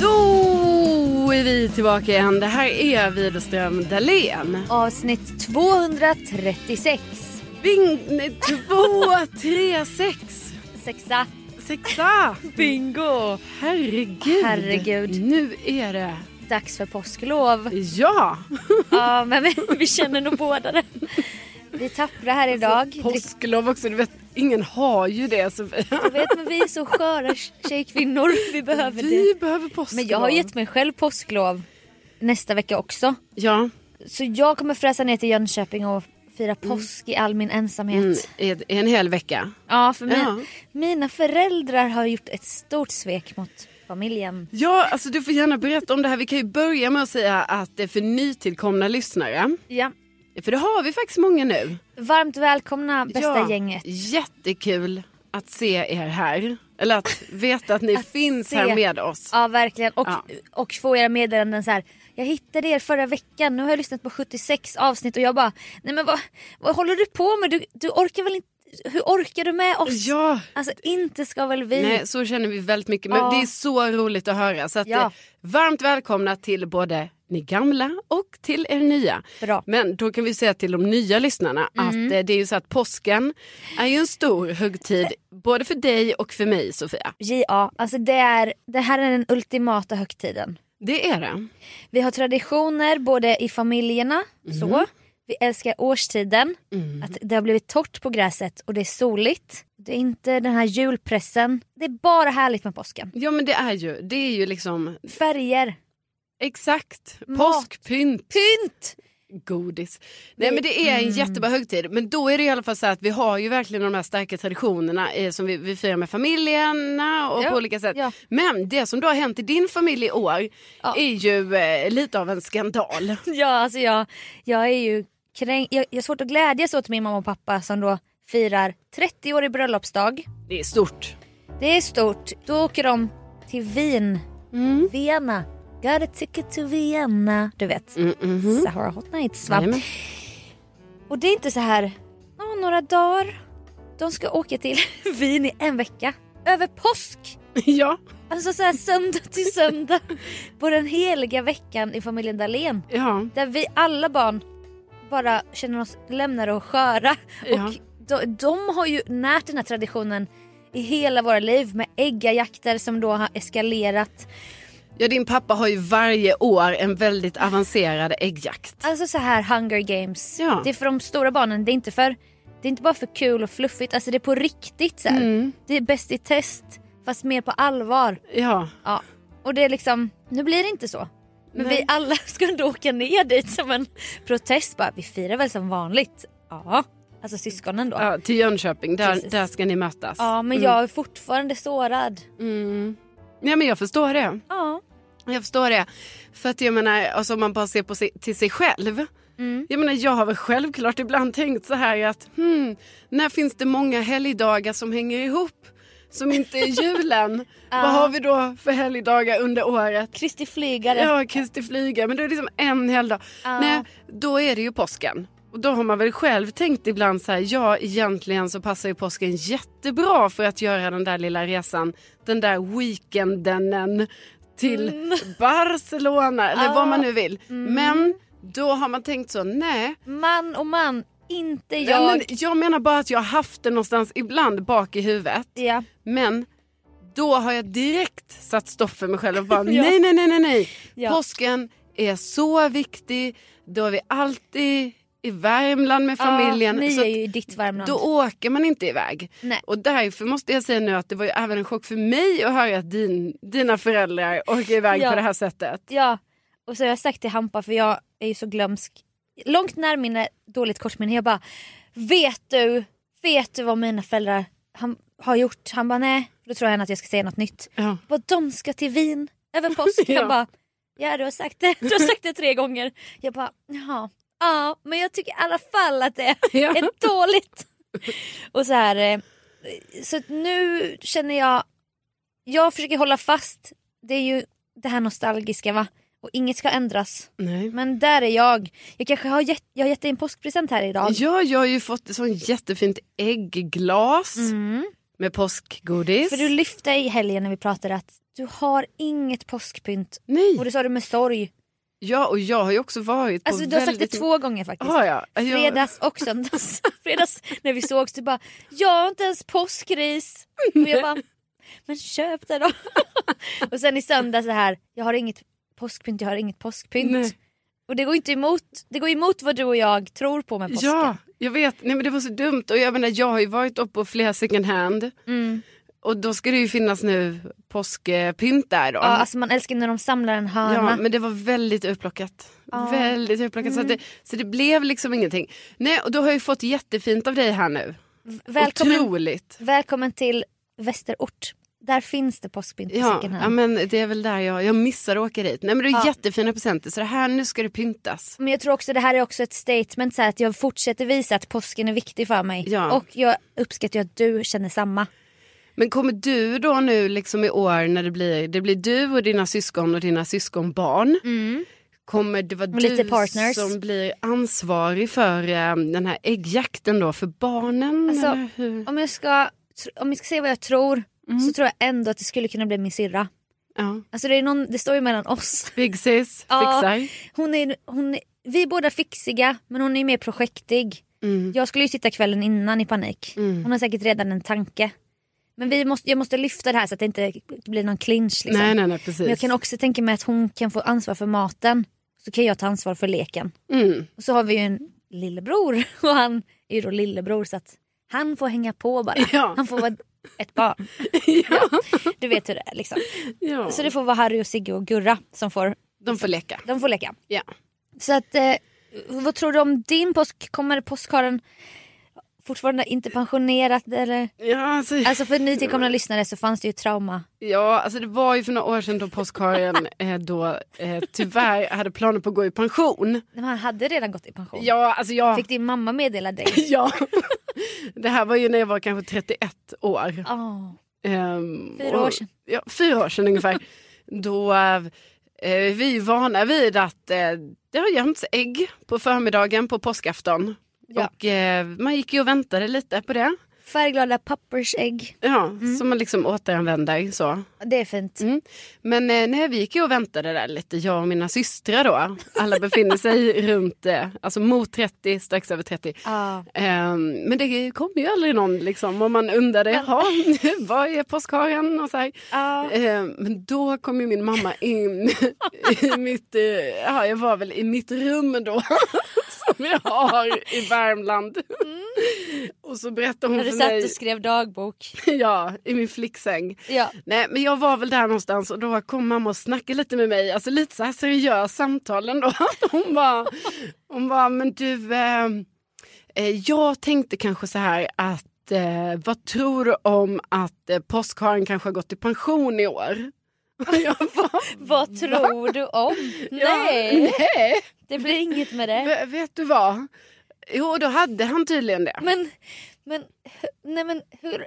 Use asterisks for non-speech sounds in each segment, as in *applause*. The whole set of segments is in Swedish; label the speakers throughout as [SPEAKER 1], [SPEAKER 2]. [SPEAKER 1] Då är vi tillbaka igen. Det här är Widerström Dahlén.
[SPEAKER 2] Avsnitt 236.
[SPEAKER 1] Bing... nej, Två, tre, sex.
[SPEAKER 2] Sexa.
[SPEAKER 1] Sexa!
[SPEAKER 2] *laughs* Bingo!
[SPEAKER 1] Herregud.
[SPEAKER 2] Herregud.
[SPEAKER 1] Nu är det...
[SPEAKER 2] Dags för påsklov.
[SPEAKER 1] Ja!
[SPEAKER 2] Ja, men *laughs* vi, vi känner nog båda det. Vi är tappra här idag. Drick-
[SPEAKER 1] Alltså, Påsklov också. Du vet, ingen har ju det. Så vi
[SPEAKER 2] Jag vet, men vi är så sköra tjejkvinnor. Vi behöver
[SPEAKER 1] vi
[SPEAKER 2] det.
[SPEAKER 1] behöver påsklov.
[SPEAKER 2] Men jag har gett mig själv påsklov nästa vecka också.
[SPEAKER 1] Ja,
[SPEAKER 2] Så jag kommer fräsa ner till Jönköping och fira påsk i all min ensamhet.
[SPEAKER 1] mm, en- en hel vecka.
[SPEAKER 2] Ja, för
[SPEAKER 1] Ja.
[SPEAKER 2] min, mina föräldrar har gjort ett stort svek mot familjen.
[SPEAKER 1] Ja, alltså du får gärna berätta om det här. Vi kan ju börja med att säga att det är för nytillkomna lyssnare.
[SPEAKER 2] Ja.
[SPEAKER 1] För det har vi faktiskt många nu.
[SPEAKER 2] Varmt välkomna bästa
[SPEAKER 1] Ja,
[SPEAKER 2] gänget.
[SPEAKER 1] Jättekul att se er här. Eller att veta
[SPEAKER 2] *laughs*
[SPEAKER 1] att ni finns
[SPEAKER 2] se.
[SPEAKER 1] här med oss.
[SPEAKER 2] Ja verkligen och,
[SPEAKER 1] Ja.
[SPEAKER 2] och få era meddelanden så här. Jag hittade er förra veckan, nu har jag lyssnat på 76 avsnitt och jag bara nej men vad, vad håller du på med? Du, du orkar väl inte, hur orkar du med oss?
[SPEAKER 1] Ja,
[SPEAKER 2] Alltså inte ska väl vi?
[SPEAKER 1] nej, så känner vi väldigt mycket. Men
[SPEAKER 2] Ja.
[SPEAKER 1] det är så roligt att höra. Så att,
[SPEAKER 2] Ja.
[SPEAKER 1] eh, varmt välkomna till både ni gamla och till er nya.
[SPEAKER 2] Bra. Mm.
[SPEAKER 1] Men då kan vi säga till de nya lyssnarna att eh, det är ju så att påsken är ju en stor högtid både för dig och för mig Sofia.
[SPEAKER 2] Ja, alltså det, är, det här är den ultimata högtiden.
[SPEAKER 1] Det är det.
[SPEAKER 2] Vi har traditioner både i familjerna,
[SPEAKER 1] Mm.
[SPEAKER 2] så. Vi älskar årstiden, att det har blivit torrt på gräset och det är soligt. Det är inte den här julpressen. Det är bara härligt med påsken.
[SPEAKER 1] Ja men det är ju, det är ju liksom
[SPEAKER 2] Färger,
[SPEAKER 1] exakt
[SPEAKER 2] Mat.
[SPEAKER 1] påskpynt.
[SPEAKER 2] pynt! Mm.
[SPEAKER 1] godis. Nej men det är en jättebra högtid. Men då är det i alla fall så att vi har ju verkligen de här starka traditionerna eh, som vi, vi firar med familjerna och
[SPEAKER 2] Ja,
[SPEAKER 1] på olika sätt.
[SPEAKER 2] ja.
[SPEAKER 1] Men det som då har hänt i din familj i år
[SPEAKER 2] Ja.
[SPEAKER 1] är ju eh, lite av en skandal.
[SPEAKER 2] *laughs* Ja, alltså jag, jag är ju kränk... jag, jag har svårt att glädjas åt min mamma och pappa som då firar 30 år i bröllopsdag.
[SPEAKER 1] Det är stort.
[SPEAKER 2] Det är stort. Då åker de till Wien.
[SPEAKER 1] Mm.
[SPEAKER 2] Vienna. Got a ticket to Vienna. Du vet.
[SPEAKER 1] Mm, mhm.
[SPEAKER 2] Sahara Hot Nights va?
[SPEAKER 1] Jajamän.
[SPEAKER 2] Och det är inte så här, "Ja, några dagar. De ska åka till *laughs* Wien i en vecka. Över påsk!
[SPEAKER 1] ja,
[SPEAKER 2] Alltså så här söndag till söndag. På den heliga veckan i familjen Dahlén.
[SPEAKER 1] ja,
[SPEAKER 2] Där vi alla barn bara känner oss lämnade och sköra.
[SPEAKER 1] Ja.
[SPEAKER 2] Och de, de har ju närt den här traditionen i hela våra liv med äggajakter som då har eskalerat.
[SPEAKER 1] Ja, din pappa har ju varje år en väldigt avancerad äggjakt.
[SPEAKER 2] Alltså så här Hunger Games.
[SPEAKER 1] Ja.
[SPEAKER 2] Det är för de stora barnen. Det är inte för det är inte bara för kul och fluffigt. Alltså det är på riktigt så här.
[SPEAKER 1] Mm.
[SPEAKER 2] Det är bäst i test fast mer på allvar.
[SPEAKER 1] Ja.
[SPEAKER 2] Ja. Och det är liksom, nu blir det inte så. Men vi alla *laughs* ska ändå åka ner dit som en protest bara. Vi firar väl som vanligt. Ja. Alltså syskonen då. Ja,
[SPEAKER 1] ja, till Jönköping. Där,
[SPEAKER 2] Precis.
[SPEAKER 1] där ska ni mötas.
[SPEAKER 2] men jag är fortfarande sårad.
[SPEAKER 1] Mm. Ja, men jag förstår det.
[SPEAKER 2] Ja.
[SPEAKER 1] Jag förstår det. För att jag menar, alltså, om man bara ser på sig, till sig själv.
[SPEAKER 2] Mm.
[SPEAKER 1] Jag menar, jag har väl självklart ibland tänkt så här att hmm, när finns det många helgdagar som hänger ihop? Som inte är
[SPEAKER 2] *laughs*
[SPEAKER 1] julen. Vad har vi då för helgdagar under året?
[SPEAKER 2] Kristi flygare.
[SPEAKER 1] Ja, Kristi flyga. Men det är liksom en hel dag. Nej, då är det ju påsken. Och då har man väl själv tänkt ibland så här, ja egentligen så passar ju påsken jättebra för att göra den där lilla resan, den där weekenden till
[SPEAKER 2] Mm.
[SPEAKER 1] Barcelona eller vad man nu vill. Men då har man tänkt så, nej.
[SPEAKER 2] Man och man. Inte
[SPEAKER 1] Jag...
[SPEAKER 2] jag.
[SPEAKER 1] Men jag menar bara att jag har haft det någonstans ibland bak i huvudet.
[SPEAKER 2] Ja.
[SPEAKER 1] Men då har jag direkt satt stopp för mig själv och bara
[SPEAKER 2] *laughs* Ja.
[SPEAKER 1] nej, nej, nej, nej, nej.
[SPEAKER 2] Ja.
[SPEAKER 1] Påsken är så viktig. Då är vi alltid i Värmland med familjen.
[SPEAKER 2] Ja, ni
[SPEAKER 1] Så
[SPEAKER 2] är
[SPEAKER 1] att
[SPEAKER 2] ju i ditt Värmland.
[SPEAKER 1] då åker man inte iväg.
[SPEAKER 2] Nej.
[SPEAKER 1] Och därför måste jag säga nu att det var ju även en chock för mig att höra att din, dina föräldrar åker iväg
[SPEAKER 2] Ja.
[SPEAKER 1] på det här sättet.
[SPEAKER 2] Ja, och så har jag sagt till Hampa för jag är ju så glömsk. Långt närminne, dåligt kortminne. Jag bara, vet du, vet du vad mina föräldrar han, har gjort? Han bara, nej. Då tror han att jag ska säga något nytt.
[SPEAKER 1] Ja.
[SPEAKER 2] Jag bara, de ska till Wien över påsk.
[SPEAKER 1] *laughs* Ja.
[SPEAKER 2] Han bara, ja du har sagt det, du har sagt det tre gånger. Jag bara, jaha. Ja, men jag tycker i alla fall att det
[SPEAKER 1] *laughs* Ja.
[SPEAKER 2] är dåligt. Och så här, eh, så att nu känner jag, jag försöker hålla fast, det är ju det här nostalgiska va? Och inget ska ändras.
[SPEAKER 1] Nej.
[SPEAKER 2] Men där är jag. Jag kanske har gett, jag har gett dig en påskpresent här idag.
[SPEAKER 1] Ja, jag har ju fått ett sånt jättefint äggglas
[SPEAKER 2] Mm.
[SPEAKER 1] med påskgodis.
[SPEAKER 2] För du lyfte i helgen när vi pratade att du har inget påskpynt.
[SPEAKER 1] Nej.
[SPEAKER 2] Och det sa du med sorg.
[SPEAKER 1] Ja, och jag har ju också varit
[SPEAKER 2] Alltså
[SPEAKER 1] på
[SPEAKER 2] du har sagt det
[SPEAKER 1] väldigt...
[SPEAKER 2] två gånger faktiskt.
[SPEAKER 1] Har jag? Jag-
[SPEAKER 2] Fredags och söndags.
[SPEAKER 1] *laughs*
[SPEAKER 2] Fredags när vi sågs du bara “jag har inte ens påskris”. Och
[SPEAKER 1] *laughs*
[SPEAKER 2] jag bara “men köp det då”. och sen i söndags så här “jag har inget påskpynt, jag har inget påskpynt”.
[SPEAKER 1] Nej.
[SPEAKER 2] Och det går inte emot, det går emot vad du och jag tror på med påsken.
[SPEAKER 1] Ja, jag vet. Nej, men det var så dumt. Och jag, menar, jag har ju varit uppe på flera second hand.
[SPEAKER 2] Mm.
[SPEAKER 1] Och då ska det ju finnas nu påskpynt där då.
[SPEAKER 2] Ja, alltså man älskar när de samlar en hörna.
[SPEAKER 1] Ja, men det var väldigt upplockat.
[SPEAKER 2] Ja. Mm.
[SPEAKER 1] Väldigt upplockat. Så, att det, så det blev liksom ingenting. Nej, och då har jag ju fått jättefint av dig här nu.
[SPEAKER 2] välkommen,
[SPEAKER 1] Otroligt.
[SPEAKER 2] välkommen till Västerort. Där finns det påskpynt på
[SPEAKER 1] Ja,
[SPEAKER 2] second hand.
[SPEAKER 1] ja, men det är väl där jag, jag missar att åka dit. Nej, men det är
[SPEAKER 2] Ja.
[SPEAKER 1] jättefina presenter. Så det här, nu ska det pyntas.
[SPEAKER 2] Men jag tror också det här är också ett statement så här, att jag fortsätter visa att påsken är viktig för mig.
[SPEAKER 1] Ja.
[SPEAKER 2] Och jag uppskattar ju att du känner samma.
[SPEAKER 1] Men kommer du då nu liksom i år när det blir, det blir du och dina syskon och dina syskonbarn.
[SPEAKER 2] Mm.
[SPEAKER 1] Kommer det vara
[SPEAKER 2] Och lite
[SPEAKER 1] du
[SPEAKER 2] partners.
[SPEAKER 1] som blir ansvarig för eh, den här äggjakten då för barnen?
[SPEAKER 2] Alltså,
[SPEAKER 1] eller hur? Mm.
[SPEAKER 2] Om jag ska, tr- om jag ska säga vad jag tror så tror jag ändå att det skulle kunna bli min syrra.
[SPEAKER 1] Ja.
[SPEAKER 2] Alltså det, är någon, det står ju mellan oss.
[SPEAKER 1] *laughs* Big sis
[SPEAKER 2] Ja.
[SPEAKER 1] fixar.
[SPEAKER 2] Hon är, hon är, vi är båda fixiga men hon är ju mer projektig.
[SPEAKER 1] Mm.
[SPEAKER 2] Jag skulle ju sitta kvällen innan i panik.
[SPEAKER 1] Mm.
[SPEAKER 2] Hon har säkert redan en tanke. Men vi måste, jag måste lyfta det här så att det inte blir någon clinch. Liksom.
[SPEAKER 1] Nej, nej, nej, precis.
[SPEAKER 2] Men jag kan också tänka mig att hon kan få ansvar för maten. Så kan jag ta ansvar för leken.
[SPEAKER 1] mm.
[SPEAKER 2] Och så har vi ju en lillebror *laughs* och han är ju då lillebror så att han får hänga på bara.
[SPEAKER 1] *laughs* Ja.
[SPEAKER 2] Han får vara ett barn.
[SPEAKER 1] *laughs* ja.
[SPEAKER 2] Du vet hur det är liksom.
[SPEAKER 1] Ja.
[SPEAKER 2] Så det får vara Harry och Sigge och Gurra som får,
[SPEAKER 1] De får leka.
[SPEAKER 2] de får leka.
[SPEAKER 1] Ja.
[SPEAKER 2] Så att, eh, vad tror du om din påsk? Kommer påskharen fortfarande inte pensionerat eller?
[SPEAKER 1] Ja, alltså,
[SPEAKER 2] Alltså för nytillkomna lyssnare så fanns det ju ett trauma.
[SPEAKER 1] ja, alltså det var ju för några år sedan då
[SPEAKER 2] *laughs*
[SPEAKER 1] påskharen eh, då, eh, tyvärr hade planer på att gå i pension.
[SPEAKER 2] Men Han hade redan gått i pension.
[SPEAKER 1] Ja, alltså jag...
[SPEAKER 2] Fick din mamma meddela dig?
[SPEAKER 1] *laughs* Ja. Det här var ju när jag var kanske 31 år.
[SPEAKER 2] Ja.
[SPEAKER 1] Ehm,
[SPEAKER 2] Fyra
[SPEAKER 1] och-
[SPEAKER 2] år sedan.
[SPEAKER 1] Ja, fyra år sedan
[SPEAKER 2] *laughs*
[SPEAKER 1] ungefär. Då eh, är vi ju vana vid att eh, det har gömts ägg på förmiddagen på påskafton.
[SPEAKER 2] Ja.
[SPEAKER 1] Och eh, man gick ju och väntade lite på det. Färgglada pappersägg.
[SPEAKER 2] Ja, som man liksom återanvänder så.
[SPEAKER 1] Det är fint.
[SPEAKER 2] Mm. Men eh, nej, vi gick ju och väntade där lite, jag och mina systrar då. Alla befinner sig
[SPEAKER 1] *laughs*
[SPEAKER 2] runt, eh, alltså mot 30, strax över 30.
[SPEAKER 1] Ja.
[SPEAKER 2] Ehm, men det kom ju aldrig någon liksom, och man undrade, jaha, var är påskharen och så här.
[SPEAKER 1] Ja.
[SPEAKER 2] Ehm, men då kom ju min mamma in *laughs* i mitt, eh, ja jag var väl i mitt rum då. *laughs* Som jag har i Värmland. Och så berättade hon
[SPEAKER 1] När du
[SPEAKER 2] för
[SPEAKER 1] satt
[SPEAKER 2] mig,
[SPEAKER 1] och skrev dagbok.
[SPEAKER 2] *laughs* ja, i min flicksäng.
[SPEAKER 1] Ja.
[SPEAKER 2] Nej, men jag var väl där någonstans och då kom mamma och snackade lite med mig. Alltså lite så här seriös samtal ändå. *laughs* Hon bara, hon bara men du, eh, eh, jag tänkte kanske så här att eh, vad tror du om att eh, påskharen kanske har gått i pension i år? *laughs* Och jag bara,
[SPEAKER 1] *laughs* Vad tror du om? Nej,
[SPEAKER 2] *laughs* Ja, nej.
[SPEAKER 1] det blir inget med det.
[SPEAKER 2] V- vet du vad? Jo, då hade han tydligen det.
[SPEAKER 1] Men, men, hu- nej men hur,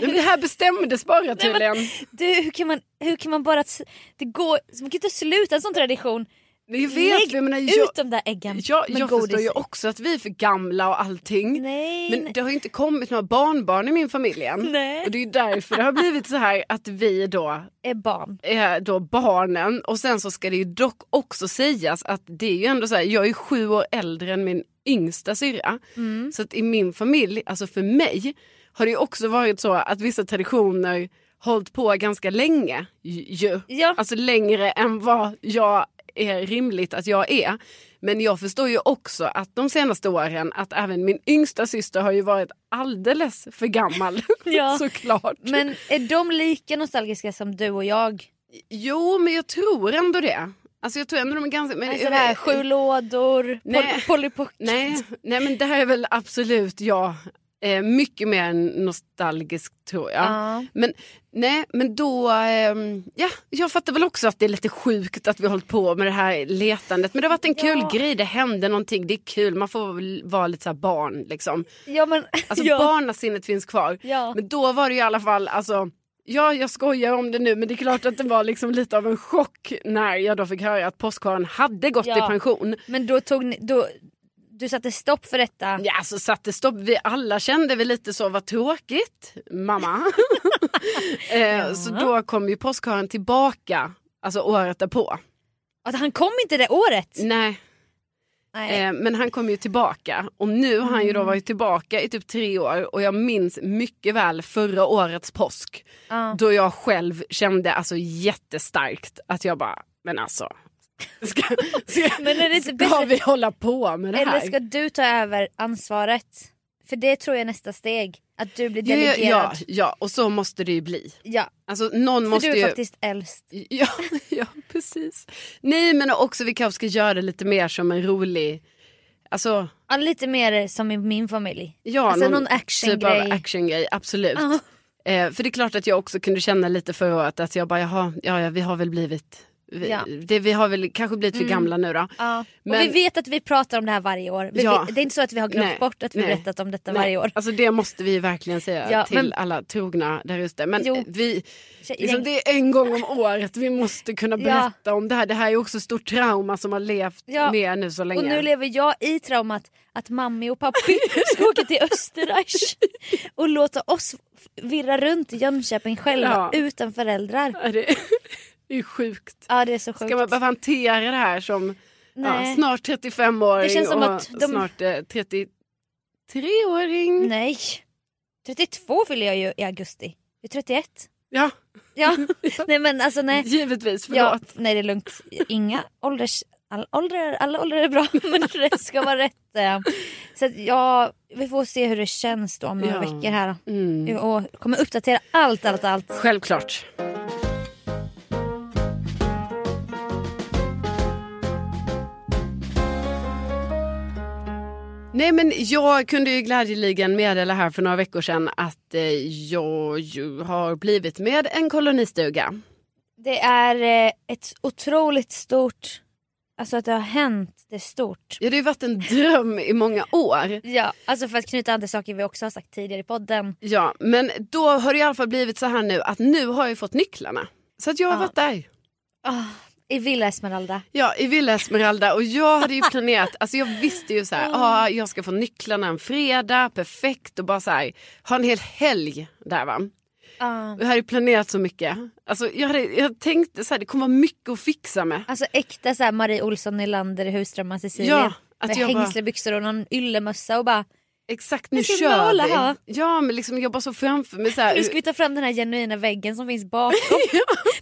[SPEAKER 2] Men det här bestämdes bara tydligen.
[SPEAKER 1] du, hur, kan man, hur kan man bara... s- Det går, man kan ju inte sluta en sån tradition.
[SPEAKER 2] Jag vet,
[SPEAKER 1] Lägg
[SPEAKER 2] jag menar, jag,
[SPEAKER 1] ut de där äggen
[SPEAKER 2] jag,
[SPEAKER 1] med
[SPEAKER 2] jag
[SPEAKER 1] godis
[SPEAKER 2] förstår ju
[SPEAKER 1] i.
[SPEAKER 2] också att vi är för gamla och allting.
[SPEAKER 1] Nej,
[SPEAKER 2] Men
[SPEAKER 1] nej.
[SPEAKER 2] det har ju inte kommit några barnbarn i min familj än.
[SPEAKER 1] Nej.
[SPEAKER 2] Och det är ju därför det har blivit så här att vi då
[SPEAKER 1] är barn.
[SPEAKER 2] är då barnen och sen så ska det ju dock också sägas att det är ju ändå så här, jag är ju sju år äldre än min yngsta syrra.
[SPEAKER 1] Mm.
[SPEAKER 2] Så att i min familj, alltså för mig, har det ju också varit så att vissa traditioner hållit på ganska länge ju.
[SPEAKER 1] Ja.
[SPEAKER 2] Alltså längre än vad jag är rimligt att jag är. Men jag förstår ju också att de senaste åren att även min yngsta syster har ju varit alldeles för gammal.
[SPEAKER 1] *laughs* Ja.
[SPEAKER 2] *laughs* Såklart.
[SPEAKER 1] Men är de lika nostalgiska som du och jag?
[SPEAKER 2] Jo, men jag tror ändå det. Alltså jag tror ändå de är ganska... Men, Eh,
[SPEAKER 1] Alltså det här sju lådor,
[SPEAKER 2] Nej.
[SPEAKER 1] pol- Polly Pocket.
[SPEAKER 2] Nej, nej, men det här är väl absolut jag. Eh, mycket mer nostalgisk tror jag.
[SPEAKER 1] Ja.
[SPEAKER 2] Men, nej, men då... ehm, ja, jag fattar väl också att det är lite sjukt att vi har hållit på med det här letandet. Men det har varit en kul
[SPEAKER 1] Ja.
[SPEAKER 2] grej, det hände någonting, det är kul. Man får väl vara lite så här barn liksom.
[SPEAKER 1] Ja, men, *laughs*
[SPEAKER 2] Alltså
[SPEAKER 1] ja.
[SPEAKER 2] barnasinnet finns kvar.
[SPEAKER 1] Ja.
[SPEAKER 2] Men då var det ju i alla fall, alltså, ja jag skojar om det nu men det är klart att det var liksom lite av en chock när jag då fick höra att påskharen hade gått
[SPEAKER 1] Ja.
[SPEAKER 2] i pension.
[SPEAKER 1] men då tog ni, då, du satte stopp för detta.
[SPEAKER 2] Ja, så satte stopp. Vi alla kände väl lite så, vad tråkigt,
[SPEAKER 1] *laughs*
[SPEAKER 2] mamma. eh, Så då kom ju påskharen tillbaka, alltså året därpå.
[SPEAKER 1] Att han kom inte det året.
[SPEAKER 2] Nej,
[SPEAKER 1] Nej. Mm.
[SPEAKER 2] eh, men han kom ju tillbaka och nu har han ju då varit tillbaka i typ tre år och jag minns mycket väl förra årets påsk.
[SPEAKER 1] Ja.
[SPEAKER 2] Då jag själv kände alltså jättestarkt att jag bara, men alltså. Ska, ska,
[SPEAKER 1] Men är det inte
[SPEAKER 2] ska
[SPEAKER 1] bättre-
[SPEAKER 2] vi hålla på med det
[SPEAKER 1] Eller
[SPEAKER 2] här?
[SPEAKER 1] ska du ta över ansvaret? För det tror jag är nästa steg. Att du blir
[SPEAKER 2] ja, ja,
[SPEAKER 1] delegerad.
[SPEAKER 2] ja, ja, och så måste det ju bli.
[SPEAKER 1] Ja,
[SPEAKER 2] Alltså någon
[SPEAKER 1] för
[SPEAKER 2] måste
[SPEAKER 1] du är
[SPEAKER 2] ju...
[SPEAKER 1] faktiskt äldst.
[SPEAKER 2] Ja, *laughs* ja, precis. Nej, men också vi kanske ska göra det lite mer som en rolig... Alltså,
[SPEAKER 1] Ja, lite mer som i min familj.
[SPEAKER 2] ja,
[SPEAKER 1] alltså någon actiongrej.
[SPEAKER 2] typ av actiongrej. Absolut.
[SPEAKER 1] Ja.
[SPEAKER 2] Eh, för det är klart att jag också kunde känna lite förra året att jag bara, jaha, ja, ja vi har väl blivit... Vi,
[SPEAKER 1] Ja. Mm.
[SPEAKER 2] det, vi har väl kanske blivit för gamla nu då.
[SPEAKER 1] Ja.
[SPEAKER 2] Men-
[SPEAKER 1] Och vi vet att vi pratar om det här varje år. Vi,
[SPEAKER 2] Ja.
[SPEAKER 1] vi, det är inte så att vi har glömt
[SPEAKER 2] Nej,
[SPEAKER 1] bort att vi
[SPEAKER 2] nej,
[SPEAKER 1] berättat om detta
[SPEAKER 2] Nej,
[SPEAKER 1] varje år.
[SPEAKER 2] Alltså det måste vi verkligen säga
[SPEAKER 1] Ja,
[SPEAKER 2] till
[SPEAKER 1] men-
[SPEAKER 2] alla trogna där ute. Men eh,
[SPEAKER 1] Jo.
[SPEAKER 2] vi,
[SPEAKER 1] Tjej-
[SPEAKER 2] liksom,
[SPEAKER 1] gäng-
[SPEAKER 2] det är en gång om året vi måste kunna berätta om det här. Det här är ju också ett stort trauma som har levt
[SPEAKER 1] Ja.
[SPEAKER 2] med nu så länge.
[SPEAKER 1] Och nu lever jag i traumat att mamma och pappi *laughs* ska åka till Österreich
[SPEAKER 2] *laughs*
[SPEAKER 1] och låta oss virra runt i Jönköping själva
[SPEAKER 2] Ja.
[SPEAKER 1] utan föräldrar.
[SPEAKER 2] Ja, det *laughs* är- det är sjukt.
[SPEAKER 1] Ja det är så sjukt.
[SPEAKER 2] Ska man behöva hantera det här som ja,
[SPEAKER 1] Nej.
[SPEAKER 2] snart 35-åring
[SPEAKER 1] Det känns som
[SPEAKER 2] och
[SPEAKER 1] att de-
[SPEAKER 2] snart eh, 33-åring?
[SPEAKER 1] Nej. 32 fyller jag ju i augusti. Jag är 31.
[SPEAKER 2] Ja, *laughs*
[SPEAKER 1] Ja. *laughs* nej men alltså nej.
[SPEAKER 2] givetvis.
[SPEAKER 1] Ja,
[SPEAKER 2] Förlåt.
[SPEAKER 1] nej det är lugnt. Inga ålders... All åldrar, alla åldrar är bra *laughs* men rätt ska vara rätt. eh. Så att, ja, vi får se hur det känns då om några
[SPEAKER 2] Ja.
[SPEAKER 1] veckor här.
[SPEAKER 2] Mm.
[SPEAKER 1] Och kommer uppdatera allt, allt, allt.
[SPEAKER 2] Självklart. Nej men jag kunde ju glädjeligen meddela här för några veckor sedan att eh, jag ju har blivit med en kolonistuga.
[SPEAKER 1] Det är eh, ett otroligt stort... Alltså att det har hänt, det är stort.
[SPEAKER 2] Ja, det har ju varit en dröm i många år.
[SPEAKER 1] Ja, alltså för att knyta an till saker vi också har sagt tidigare i podden.
[SPEAKER 2] Ja, men då har det i alla fall blivit så här nu att nu har jag ju fått nycklarna. Så att jag har
[SPEAKER 1] Ja.
[SPEAKER 2] varit där.
[SPEAKER 1] Ah, I Villa Esmeralda.
[SPEAKER 2] Ja, i Villa Esmeralda och jag hade ju planerat, alltså jag visste ju så här, ah, jag ska få nycklarna en fredag, perfekt och bara så här, ha en hel helg där va.
[SPEAKER 1] Ja.
[SPEAKER 2] Jag hade planerat så mycket. Alltså jag, hade, jag tänkte så här, det kommer vara mycket att fixa med.
[SPEAKER 1] Alltså äkta så här Marie Olsson Nylander i Husdrömmar Sicilien.
[SPEAKER 2] Ja,
[SPEAKER 1] med
[SPEAKER 2] att jag bara,
[SPEAKER 1] hängslebyxor och någon yllemössa och bara
[SPEAKER 2] exakt nu
[SPEAKER 1] Nu ska vi
[SPEAKER 2] kör
[SPEAKER 1] måla
[SPEAKER 2] vi.
[SPEAKER 1] här.
[SPEAKER 2] Ja, men liksom jag bara så framför mig så här,
[SPEAKER 1] nu ska vi ta fram den här genuina väggen som finns
[SPEAKER 2] *laughs*
[SPEAKER 1] bakom.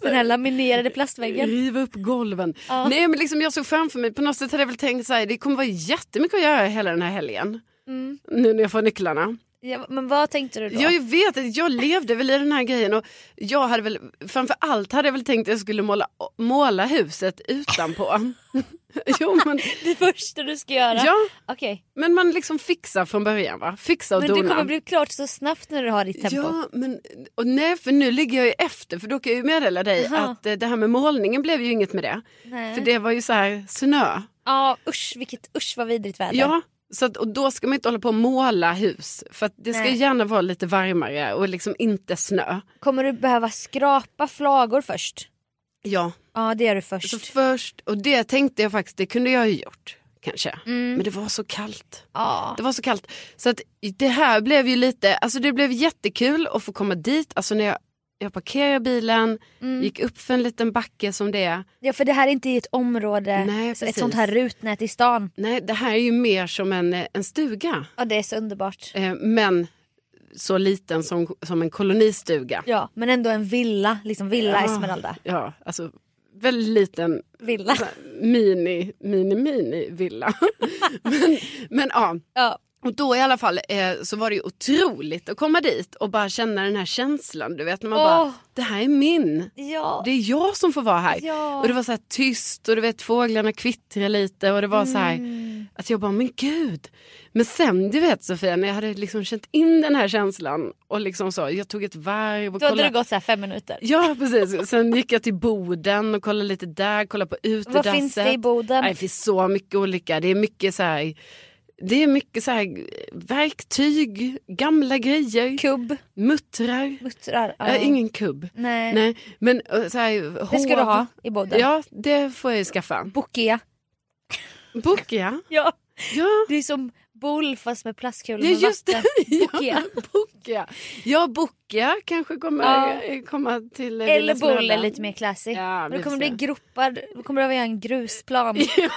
[SPEAKER 1] den här laminerade plastväggen.
[SPEAKER 2] Riva upp golven.
[SPEAKER 1] Ja.
[SPEAKER 2] Nej men liksom jag såg framför mig, på något sätt hade jag väl tänkt så här, det kommer vara jättemycket att göra hela den här helgen.
[SPEAKER 1] Mm.
[SPEAKER 2] Nu när jag får nycklarna.
[SPEAKER 1] Ja, men vad tänkte du då?
[SPEAKER 2] Jag vet att jag levde väl i den här grejen och jag hade väl, framför allt hade jag väl tänkt att jag skulle måla, måla huset utanpå. *laughs* jo men,
[SPEAKER 1] *laughs* Det första du ska göra?
[SPEAKER 2] ja,
[SPEAKER 1] Okej,
[SPEAKER 2] men man liksom fixar från början va, fixa och
[SPEAKER 1] men
[SPEAKER 2] dona.
[SPEAKER 1] det kommer bli klart så snabbt när du har ditt tempo.
[SPEAKER 2] Ja, men och nej, för nu ligger jag ju efter för då kan jag ju meddela dig
[SPEAKER 1] Jaha.
[SPEAKER 2] att eh, det här med målningen blev ju inget med det.
[SPEAKER 1] Nej.
[SPEAKER 2] För det var ju så här snö.
[SPEAKER 1] Ja usch, vilket, usch vad vidrigt väder.
[SPEAKER 2] Ja, så att, och då ska man inte hålla på och måla hus. För att det ska
[SPEAKER 1] Nej.
[SPEAKER 2] gärna vara lite varmare och liksom inte snö.
[SPEAKER 1] Kommer du behöva skrapa flagor först?
[SPEAKER 2] Ja,
[SPEAKER 1] Ja det gör du först.
[SPEAKER 2] så först, och det tänkte jag faktiskt, det kunde jag ju gjort kanske.
[SPEAKER 1] Mm.
[SPEAKER 2] Men det var så kallt.
[SPEAKER 1] ja.
[SPEAKER 2] Det var så kallt. Så att det här blev ju lite, alltså det blev jättekul att få komma dit. Alltså när jag, jag parkerade bilen,
[SPEAKER 1] Mm.
[SPEAKER 2] gick upp för en liten backe som det är.
[SPEAKER 1] ja för det här är inte i ett område,
[SPEAKER 2] Nej,
[SPEAKER 1] så ett
[SPEAKER 2] precis.
[SPEAKER 1] sånt här rutnät i stan.
[SPEAKER 2] Nej, det här är ju mer som en, eh, en stuga.
[SPEAKER 1] Ja det är så underbart.
[SPEAKER 2] Eh, men så liten som, som en kolonistuga.
[SPEAKER 1] Ja men ändå en villa, liksom villa
[SPEAKER 2] Ja.
[SPEAKER 1] Esmeralda.
[SPEAKER 2] Ja, alltså väldigt liten
[SPEAKER 1] Villa.
[SPEAKER 2] mini, mini, mini villa. *laughs* men, men ja,
[SPEAKER 1] Ja.
[SPEAKER 2] och då i alla fall eh, så var det ju otroligt att komma dit och bara känna den här känslan. Du vet när man
[SPEAKER 1] Åh.
[SPEAKER 2] bara, det här är min.
[SPEAKER 1] Ja.
[SPEAKER 2] Det är jag som får vara här.
[SPEAKER 1] Ja.
[SPEAKER 2] Och det var så här tyst och du vet fåglarna kvittrade lite och det var så här
[SPEAKER 1] Mm.
[SPEAKER 2] att jag bara men gud. Men sen du vet Sofia när jag hade liksom känt in den här känslan och liksom så jag tog ett varv och
[SPEAKER 1] Då hade
[SPEAKER 2] kollade.
[SPEAKER 1] det gått så här fem minuter.
[SPEAKER 2] Ja precis, sen gick jag till Boden och kollade lite där, kollade på utedasset.
[SPEAKER 1] Vad finns det i Boden?
[SPEAKER 2] Nej, det finns så mycket olika. Det är mycket så här, det är mycket så här verktyg, gamla grejer,
[SPEAKER 1] Kubb,
[SPEAKER 2] muttrar.
[SPEAKER 1] muttrar. Ja.
[SPEAKER 2] Äh, ingen kubb.
[SPEAKER 1] Nej.
[SPEAKER 2] Nej, men eh, så här, hår.
[SPEAKER 1] Det ska du ha i Boden.
[SPEAKER 2] Ja, det får jag ju skaffa.
[SPEAKER 1] Bokia.
[SPEAKER 2] Bokia.
[SPEAKER 1] *laughs* Ja.
[SPEAKER 2] Ja,
[SPEAKER 1] Det är som boll fast med plastkulor
[SPEAKER 2] ja
[SPEAKER 1] med
[SPEAKER 2] just det. *laughs*
[SPEAKER 1] vatten.
[SPEAKER 2] Ja,
[SPEAKER 1] Bokia.
[SPEAKER 2] Bokia. Ja, Bokia kanske kommer
[SPEAKER 1] Ja.
[SPEAKER 2] eh, komma till eh,
[SPEAKER 1] Eller
[SPEAKER 2] Lilla
[SPEAKER 1] boll är
[SPEAKER 2] Smälla.
[SPEAKER 1] lite mer classy.
[SPEAKER 2] Ja,
[SPEAKER 1] Men
[SPEAKER 2] vi
[SPEAKER 1] du kommer
[SPEAKER 2] får
[SPEAKER 1] bli
[SPEAKER 2] se.
[SPEAKER 1] gropad, du kommer behöva göra en grusplan.
[SPEAKER 2] *laughs* Ja.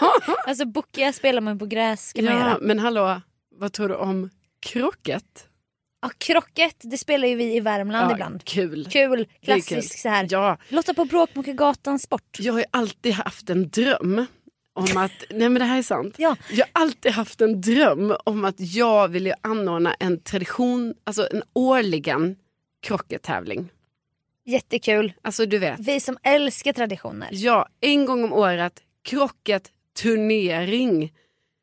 [SPEAKER 1] Alltså bokia spelar man på gräs kan man
[SPEAKER 2] Ja,
[SPEAKER 1] göra.
[SPEAKER 2] men hallå, vad tror du om krocket?
[SPEAKER 1] Ja, krocket, det spelar ju vi i Värmland
[SPEAKER 2] Ja,
[SPEAKER 1] ibland.
[SPEAKER 2] Kul.
[SPEAKER 1] Kul,
[SPEAKER 2] Det är kul.
[SPEAKER 1] klassisk så här.
[SPEAKER 2] Ja,
[SPEAKER 1] Lotta på Bråkmakargatan sport.
[SPEAKER 2] jag har ju alltid haft en dröm om att, nej men det här är sant.
[SPEAKER 1] Ja.
[SPEAKER 2] Jag har alltid haft en dröm om att jag vill ju anordna en tradition, alltså en årligen krockettävling.
[SPEAKER 1] Jättekul.
[SPEAKER 2] Alltså du vet,
[SPEAKER 1] Vi som älskar traditioner.
[SPEAKER 2] ja, en gång om året, krocketturnering.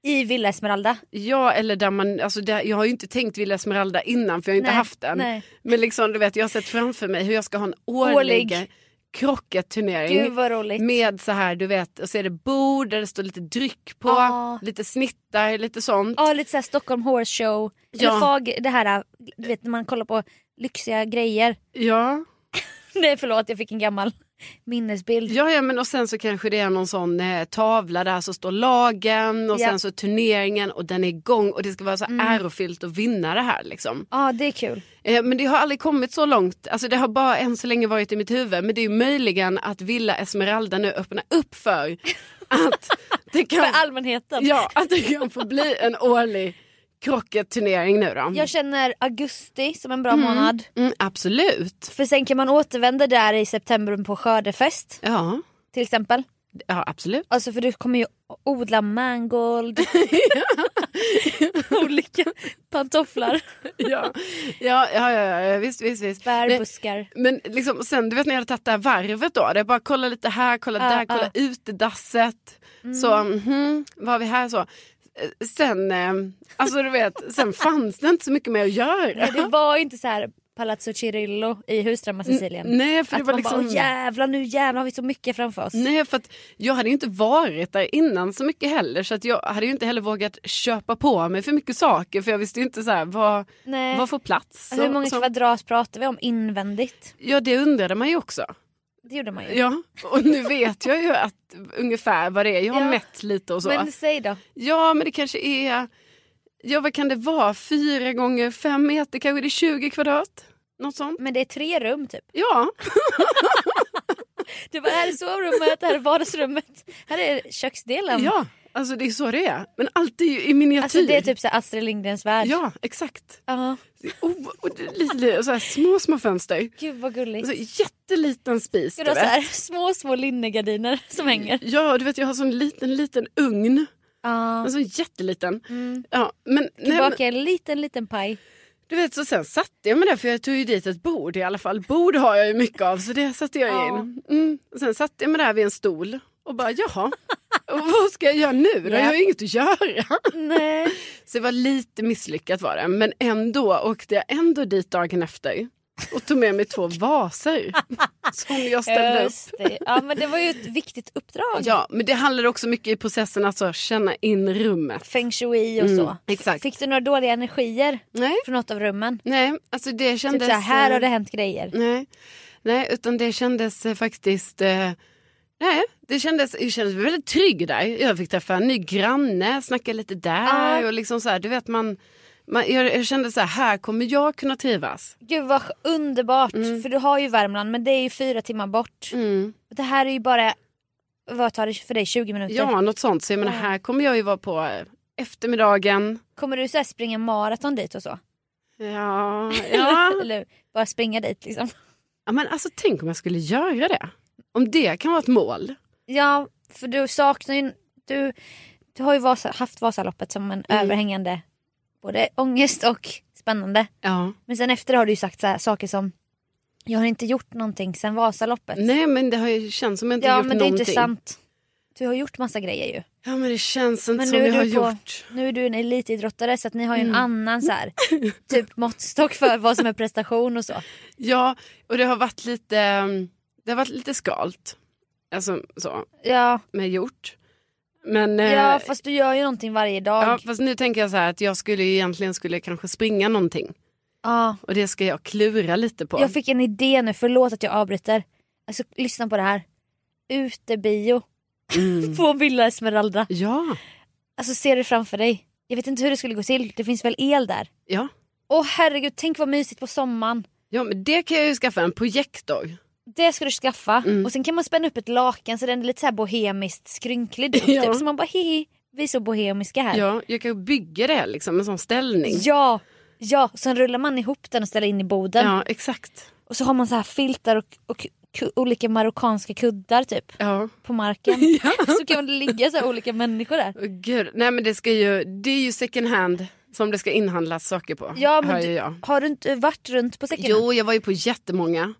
[SPEAKER 1] I Villa Esmeralda.
[SPEAKER 2] Ja, eller där man, alltså där, jag har ju inte tänkt Villa Esmeralda innan för jag har inte
[SPEAKER 1] Nej,
[SPEAKER 2] haft den.
[SPEAKER 1] nej.
[SPEAKER 2] Men liksom, du vet, jag har sett framför mig hur jag ska ha en årlig,
[SPEAKER 1] Årlig. Gud
[SPEAKER 2] krocketturnering.
[SPEAKER 1] vad roligt.
[SPEAKER 2] Med så här, du vet, och så är det bord där det står lite dryck på,
[SPEAKER 1] Ja.
[SPEAKER 2] lite snittar, lite sånt.
[SPEAKER 1] Ja lite såhär Stockholm Horse Show.
[SPEAKER 2] Ja.
[SPEAKER 1] Eller Fag, det här du vet när man kollar på lyxiga grejer.
[SPEAKER 2] Ja.
[SPEAKER 1] *laughs* Nej förlåt jag fick en gammal minnesbild.
[SPEAKER 2] Ja, ja, men och sen så kanske det är någon sån eh, tavla där så står lagen och
[SPEAKER 1] Ja. Mm.
[SPEAKER 2] sen så turneringen och den är igång och det ska vara så ärofyllt att vinna det här liksom.
[SPEAKER 1] Ja det är kul.
[SPEAKER 2] Eh, Men det har aldrig kommit så långt. Alltså det har bara än så länge varit i mitt huvud. Men det är ju möjligen att Villa Esmeralda nu öppnar upp för
[SPEAKER 1] *laughs*
[SPEAKER 2] att det kan,
[SPEAKER 1] För allmänheten.
[SPEAKER 2] ja, att det kan få bli en årlig krocketturnering nu då.
[SPEAKER 1] Jag känner augusti som en bra månad.
[SPEAKER 2] Mm, absolut.
[SPEAKER 1] För sen kan man återvända där i september på skördefest
[SPEAKER 2] Ja,
[SPEAKER 1] till exempel.
[SPEAKER 2] ja absolut.
[SPEAKER 1] Alltså för du kommer ju odla mangold. *laughs* Olika pantofflar,
[SPEAKER 2] *laughs* Ja, ja, ja, ja, ja visst, visst, visst.
[SPEAKER 1] bär,
[SPEAKER 2] Nej,
[SPEAKER 1] buskar.
[SPEAKER 2] Men liksom, sen du vet när jag hade tagit det här varvet då, det är bara kolla lite här, kolla
[SPEAKER 1] Ja,
[SPEAKER 2] där, kolla utedasset.
[SPEAKER 1] Mm.
[SPEAKER 2] Så, mhm, vad har vi här så? Eh, Sen, eh, alltså du vet, sen fanns det inte så mycket mer att göra.
[SPEAKER 1] Nej, det var ju inte så här Palazzo Cirillo i Husdrömmar Sicilien.
[SPEAKER 2] Nej, för det
[SPEAKER 1] att
[SPEAKER 2] var
[SPEAKER 1] man bara
[SPEAKER 2] liksom...
[SPEAKER 1] "Åh, jävlar nu jävlar har vi så mycket framför oss.
[SPEAKER 2] Nej, för att jag hade ju inte varit där innan så mycket heller så att jag hade ju inte heller vågat köpa på mig för mycket saker för jag visste ju inte så här, vad,
[SPEAKER 1] Nej. Alltså,
[SPEAKER 2] vad får plats.
[SPEAKER 1] Hur
[SPEAKER 2] Och-
[SPEAKER 1] många
[SPEAKER 2] så,
[SPEAKER 1] kvadrat pratar vi om invändigt?
[SPEAKER 2] ja, det undrade man ju också.
[SPEAKER 1] Det gjorde man ju.
[SPEAKER 2] Ja, och nu vet jag ju att ungefär vad det är. Jag har
[SPEAKER 1] Ja.
[SPEAKER 2] mätt lite och så.
[SPEAKER 1] Men säg då.
[SPEAKER 2] Ja, men det kanske är... Ja, vad kan det vara? Fyra gånger fem meter, kanske det är 20 kvadrat? Något sånt.
[SPEAKER 1] Men det är tre rum typ.
[SPEAKER 2] Ja,
[SPEAKER 1] *laughs* Du bara, här är sovrummet, här är vardagsrummet, här är köksdelen.
[SPEAKER 2] ja. Alltså det är så det är. Men allt är ju i miniatyr.
[SPEAKER 1] Alltså det är typ så här Astrid Lindgrens värld.
[SPEAKER 2] Ja, exakt.
[SPEAKER 1] Ja.
[SPEAKER 2] Oh, och det är lite, lite, så här, små, små fönster.
[SPEAKER 1] Gud vad gulligt.
[SPEAKER 2] Alltså, jätteliten spis.
[SPEAKER 1] Ska du
[SPEAKER 2] Du
[SPEAKER 1] ha så
[SPEAKER 2] vet.
[SPEAKER 1] här, små, små linnegardiner som hänger?
[SPEAKER 2] Ja, du vet jag har sån liten, liten ugn.
[SPEAKER 1] Ja. Mm.
[SPEAKER 2] En sån jätteliten. Ja, men, nej, men,
[SPEAKER 1] Baka en liten, liten paj.
[SPEAKER 2] du vet, så sen satte jag mig där för jag tog ju dit ett bord i alla fall. Bord har jag ju mycket av så det satte jag
[SPEAKER 1] Ja.
[SPEAKER 2] in. Mm. Och Sen satte jag mig där vid en stol och bara jaha, och vad ska jag göra nu då?
[SPEAKER 1] Ja.
[SPEAKER 2] Jag har ju inget att göra.
[SPEAKER 1] Nej.
[SPEAKER 2] *laughs* Så det var lite misslyckat var det. Men ändå åkte jag ändå dit dagen efter och tog med mig två vaser *laughs* som jag ställde upp.
[SPEAKER 1] Just det. Ja men det var ju ett viktigt uppdrag.
[SPEAKER 2] Ja, men det handlar också mycket i processen att så känna in rummet.
[SPEAKER 1] Feng shui och så.
[SPEAKER 2] Mm, exakt.
[SPEAKER 1] Fick du några dåliga energier
[SPEAKER 2] Nej,
[SPEAKER 1] från något av rummen?
[SPEAKER 2] nej, alltså det kändes... eh,
[SPEAKER 1] Typ så här, här har det hänt grejer.
[SPEAKER 2] Nej, nej utan det kändes eh, faktiskt... Eh, nej, det kändes, jag kändes väldigt trygg där. Jag fick träffa en ny granne, snacka lite där
[SPEAKER 1] Ah.
[SPEAKER 2] och liksom så här, du vet man... man jag, jag kände så här, här kommer jag kunna trivas.
[SPEAKER 1] Gud vad sk- underbart. För du har ju Värmland men det är ju fyra timmar bort.
[SPEAKER 2] Mm.
[SPEAKER 1] Det här är ju bara, vad tar det för dig, 20 minuter?
[SPEAKER 2] Ja, något sånt. Så jag menar,
[SPEAKER 1] Ja.
[SPEAKER 2] här kommer jag ju vara på eh, eftermiddagen.
[SPEAKER 1] Kommer du så här springa maraton dit och så? *laughs*
[SPEAKER 2] Ja, ja.
[SPEAKER 1] Eller bara springa dit liksom?
[SPEAKER 2] ja, men alltså tänk om jag skulle göra det. Om det kan vara ett mål.
[SPEAKER 1] Ja, för du saknar ju... Du, du har ju Vasa, haft Vasaloppet som en
[SPEAKER 2] Mm.
[SPEAKER 1] överhängande både ångest och spännande.
[SPEAKER 2] Ja.
[SPEAKER 1] Men sen efter har du ju sagt så här, saker som jag har inte gjort någonting sen Vasaloppet.
[SPEAKER 2] Nej men det har ju känts som jag inte
[SPEAKER 1] ja,
[SPEAKER 2] gjort
[SPEAKER 1] men det är
[SPEAKER 2] någonting.
[SPEAKER 1] inte sant. Du har gjort massa grejer ju.
[SPEAKER 2] Ja men det känns inte
[SPEAKER 1] Men
[SPEAKER 2] som
[SPEAKER 1] nu är
[SPEAKER 2] jag har
[SPEAKER 1] du på-
[SPEAKER 2] gjort. Mm.
[SPEAKER 1] Nu är du en elitidrottare så att ni har ju en annan så
[SPEAKER 2] *laughs*
[SPEAKER 1] här, typ måttstock för vad som är prestation och så.
[SPEAKER 2] Ja och det har varit lite, ehm, det har varit lite skalt. Alltså så,
[SPEAKER 1] Ja,
[SPEAKER 2] med gjort. Men, eh,
[SPEAKER 1] ja fast du gör ju någonting varje dag.
[SPEAKER 2] ja,
[SPEAKER 1] Ja,
[SPEAKER 2] fast nu tänker jag så här att jag skulle ju egentligen skulle kanske springa någonting. Och det ska jag klura lite på.
[SPEAKER 1] Jag fick en idé nu, förlåt att jag avbryter. Alltså lyssna på det här. Utebio *laughs*
[SPEAKER 2] Mm.
[SPEAKER 1] på Villa Esmeralda.
[SPEAKER 2] Ja,
[SPEAKER 1] Alltså ser du framför dig. Jag vet inte hur det skulle gå till, det finns väl el där?
[SPEAKER 2] ja.
[SPEAKER 1] Åh herregud, tänk vad mysigt på sommaren.
[SPEAKER 2] Ja men det kan jag ju skaffa en projektor.
[SPEAKER 1] Det ska du skaffa.
[SPEAKER 2] Mm.
[SPEAKER 1] Och sen kan man spänna upp ett lakan så den är lite så här bohemiskt
[SPEAKER 2] *laughs*
[SPEAKER 1] skrynklig.
[SPEAKER 2] Ja.
[SPEAKER 1] Typ. Så man bara hehe, vi är så bohemiska här.
[SPEAKER 2] Ja, jag kan ju bygga det liksom, en sån ställning.
[SPEAKER 1] ja, ja. Sen rullar man ihop den och ställer in i boden.
[SPEAKER 2] Ja, exakt.
[SPEAKER 1] Och så har man så här filtar och, och ku- olika marockanska kuddar typ.
[SPEAKER 2] *laughs* Ja.
[SPEAKER 1] på marken. *laughs* Så kan det ligga så här olika människor där.
[SPEAKER 2] Åh, Gud. Nej men det, ska ju, det är ju second hand som det ska inhandlas saker på.
[SPEAKER 1] Ja, men
[SPEAKER 2] hör ju
[SPEAKER 1] du,
[SPEAKER 2] jag.
[SPEAKER 1] Har du inte varit runt på säcken?
[SPEAKER 2] Jo, jag var ju på jättemånga.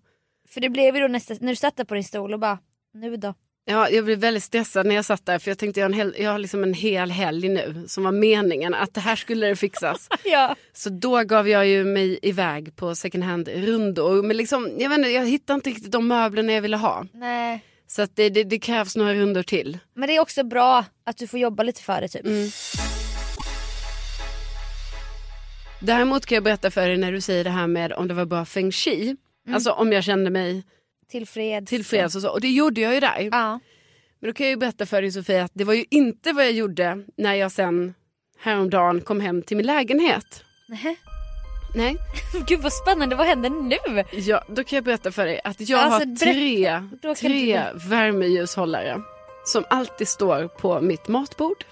[SPEAKER 1] För det blev ju då nästa, när du satt där på din stol och bara, nu då?
[SPEAKER 2] Ja, jag blev väldigt stressad när jag satt där för jag tänkte jag har, en hel, jag har liksom en hel helg nu som var meningen att det här skulle det fixas.
[SPEAKER 1] *laughs* Ja.
[SPEAKER 2] Så då gav jag ju mig iväg på second hand-rundor. Men liksom, jag, vet inte, jag hittade inte riktigt de möblerna jag ville ha.
[SPEAKER 1] Nej.
[SPEAKER 2] Så att det, det, det krävs några rundor till. Mm.
[SPEAKER 1] Men det är också bra att du får jobba lite för det typ.
[SPEAKER 2] Däremot kan jag berätta för dig när du säger det här med om det var bra feng shui.
[SPEAKER 1] Mm.
[SPEAKER 2] Alltså om jag kände mig
[SPEAKER 1] Tillfreds.
[SPEAKER 2] tillfreds och så. Och det gjorde jag ju där.
[SPEAKER 1] Ja.
[SPEAKER 2] Men då kan jag ju berätta för dig Sofia att det var ju inte vad jag gjorde när jag sen häromdagen kom hem till min lägenhet.
[SPEAKER 1] Nähä.
[SPEAKER 2] Nej,
[SPEAKER 1] *laughs* Gud vad spännande, vad händer nu?
[SPEAKER 2] ja, då kan jag berätta för dig att jag
[SPEAKER 1] Alltså,
[SPEAKER 2] har tre,
[SPEAKER 1] då kan
[SPEAKER 2] tre
[SPEAKER 1] inte
[SPEAKER 2] värmeljushållare som alltid står på mitt matbord.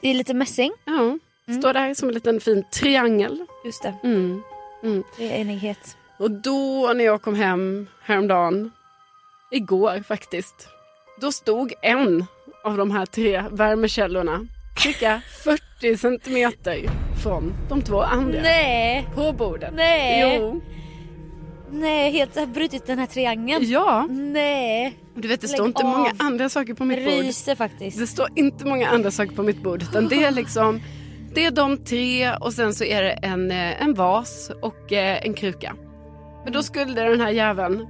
[SPEAKER 1] Det är lite mässing. Mm.
[SPEAKER 2] Ja, Står där som en liten fin triangel.
[SPEAKER 1] Just det,
[SPEAKER 2] Mm.
[SPEAKER 1] det är enighet.
[SPEAKER 2] Och då när jag kom hem häromdagen, igår faktiskt, då stod en av de här tre värmekällorna cirka 40 centimeter från de två andra.
[SPEAKER 1] Nej,
[SPEAKER 2] På bordet.
[SPEAKER 1] Nej.
[SPEAKER 2] Jo.
[SPEAKER 1] nej, helt har brutit den här triangeln.
[SPEAKER 2] Ja.
[SPEAKER 1] Nej,
[SPEAKER 2] Du vet det
[SPEAKER 1] Lägg
[SPEAKER 2] står inte
[SPEAKER 1] av.
[SPEAKER 2] många andra saker på mitt bord.
[SPEAKER 1] ryser faktiskt.
[SPEAKER 2] Det står inte många andra saker på mitt bord.
[SPEAKER 1] *laughs*
[SPEAKER 2] Utan det är liksom, det är de tre och sen så är det en, eh, en vas och eh, en kruka. Men
[SPEAKER 1] Mm.
[SPEAKER 2] då skulle den här jäveln,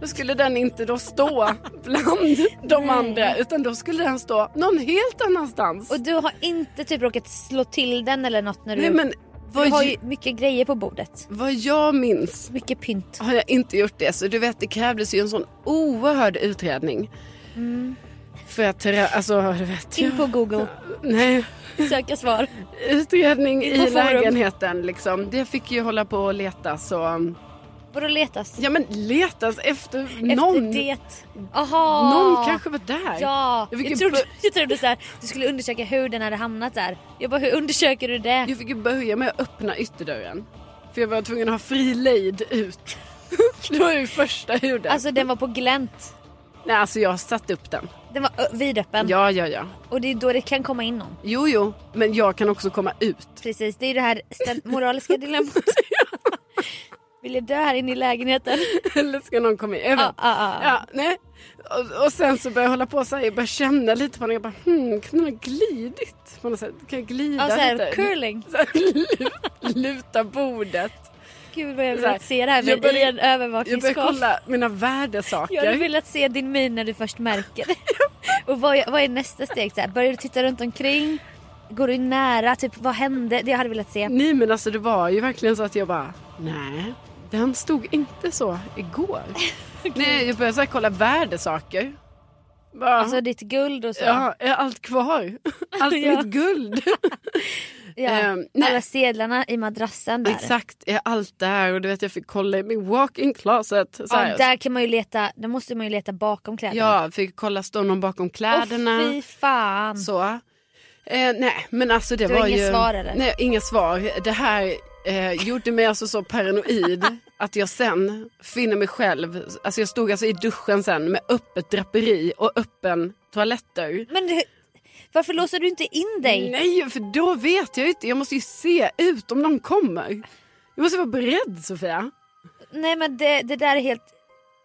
[SPEAKER 2] då skulle den inte
[SPEAKER 3] *laughs*
[SPEAKER 2] då stå bland de
[SPEAKER 1] Nej.
[SPEAKER 2] andra. Utan då skulle den stå någon helt annanstans.
[SPEAKER 1] Och du har inte typ råkat slå till den eller något när du...
[SPEAKER 2] Nej men
[SPEAKER 3] För du
[SPEAKER 2] Vad
[SPEAKER 3] har
[SPEAKER 2] ju-
[SPEAKER 3] ju mycket grejer på bordet.
[SPEAKER 2] Vad jag minns
[SPEAKER 3] Mycket pynt.
[SPEAKER 2] har jag inte gjort det. Så du vet, det krävdes ju en sån oerhörd utredning. För att, terra- alltså, du vet.
[SPEAKER 3] Mm. In på Google,
[SPEAKER 2] Nej,
[SPEAKER 3] söka svar.
[SPEAKER 2] utredning
[SPEAKER 3] På
[SPEAKER 2] i
[SPEAKER 3] forum.
[SPEAKER 2] lägenheten liksom. Det fick ju hålla på och leta så. um,
[SPEAKER 3] Vadå letas?
[SPEAKER 2] Ja men letas efter,
[SPEAKER 3] Efter
[SPEAKER 2] någon.
[SPEAKER 3] det. Aha.
[SPEAKER 2] Någon kanske var där.
[SPEAKER 3] Ja,
[SPEAKER 2] Jag fick
[SPEAKER 3] jag
[SPEAKER 2] ju
[SPEAKER 3] trodde,
[SPEAKER 2] bör-
[SPEAKER 3] jag trodde så här, du skulle undersöka hur den hade hamnat där. Jag bara, hur undersöker du det?
[SPEAKER 2] Jag fick ju börja med att öppna ytterdörren. För jag var tvungen att ha fri lejd ut. *laughs* det var ju första huden.
[SPEAKER 3] Alltså den var på glänt.
[SPEAKER 2] Nej alltså jag satte upp den.
[SPEAKER 3] Den var ö- vidöppen.
[SPEAKER 2] Ja ja ja.
[SPEAKER 3] Och det är då det kan komma in någon.
[SPEAKER 2] Jo jo. Men jag kan också komma ut.
[SPEAKER 3] Precis, det är det här ställ-
[SPEAKER 2] *laughs*
[SPEAKER 3] moraliska dilemmat. Vill jag dö här inne i lägenheten?
[SPEAKER 2] *laughs* Eller ska någon komma in? Jag vet.
[SPEAKER 3] Ja, ja, ja.
[SPEAKER 2] Ja, nej. Och, och sen så började jag hålla på så här, jag började känna lite på den. Jag bara, hmm, kan den ha glidit? På något sätt. Kan jag glida
[SPEAKER 3] Ja, så här,
[SPEAKER 2] lite?
[SPEAKER 3] curling.
[SPEAKER 2] Så här, *laughs* lut- luta bordet.
[SPEAKER 3] Gud vad jag
[SPEAKER 2] Så
[SPEAKER 3] vill
[SPEAKER 2] här,
[SPEAKER 3] att se det här
[SPEAKER 2] jag
[SPEAKER 3] med
[SPEAKER 2] börjar-
[SPEAKER 3] i en
[SPEAKER 2] Jag började
[SPEAKER 3] övervakningsskål.
[SPEAKER 2] kolla mina värdesaker.
[SPEAKER 3] Jag hade velat se din min när du först märker
[SPEAKER 2] *laughs*
[SPEAKER 3] det. Och vad, är- vad är nästa steg? Så här, börjar du titta runt omkring? Går du nära? Typ, vad hände? Det hade jag velat se.
[SPEAKER 2] Nej men alltså det var ju verkligen så att jag bara, nej. Den stod inte så
[SPEAKER 3] *laughs*
[SPEAKER 2] igår. Nej, jag började så här, kolla värdesaker. Bara,
[SPEAKER 3] Alltså ditt guld och så.
[SPEAKER 2] ja, är
[SPEAKER 3] *laughs*
[SPEAKER 2] allt kvar? Allt
[SPEAKER 3] Ja.
[SPEAKER 2] mitt guld?
[SPEAKER 3] *laughs*
[SPEAKER 2] *laughs*
[SPEAKER 3] Ja.
[SPEAKER 2] Ehm, nej.
[SPEAKER 3] Alla sedlarna i madrassen där.
[SPEAKER 2] Exakt, är allt där? Och du vet jag fick kolla i min walk-in closet. Så
[SPEAKER 3] Ja,
[SPEAKER 2] här.
[SPEAKER 3] där kan man ju leta, där måste man ju leta bakom kläderna.
[SPEAKER 2] Ja, fick kolla stå någon bakom kläderna.
[SPEAKER 3] Åh fy fan.
[SPEAKER 2] så. Eh, nej, men alltså det
[SPEAKER 3] Du har
[SPEAKER 2] var
[SPEAKER 3] inga
[SPEAKER 2] ju...
[SPEAKER 3] svar, eller?
[SPEAKER 2] Nej, inga svar. Det här eh, gjorde mig alltså så
[SPEAKER 3] *laughs*
[SPEAKER 2] paranoid att jag sen finner mig själv... Alltså jag stod alltså i duschen sen med öppet draperi och öppen toalettdörr.
[SPEAKER 3] Men du, varför låser du inte in dig?
[SPEAKER 2] Nej, för då vet jag ju inte. Jag måste ju se ut om någon kommer. Jag måste vara beredd, Sofia.
[SPEAKER 3] Nej men det, det där är helt...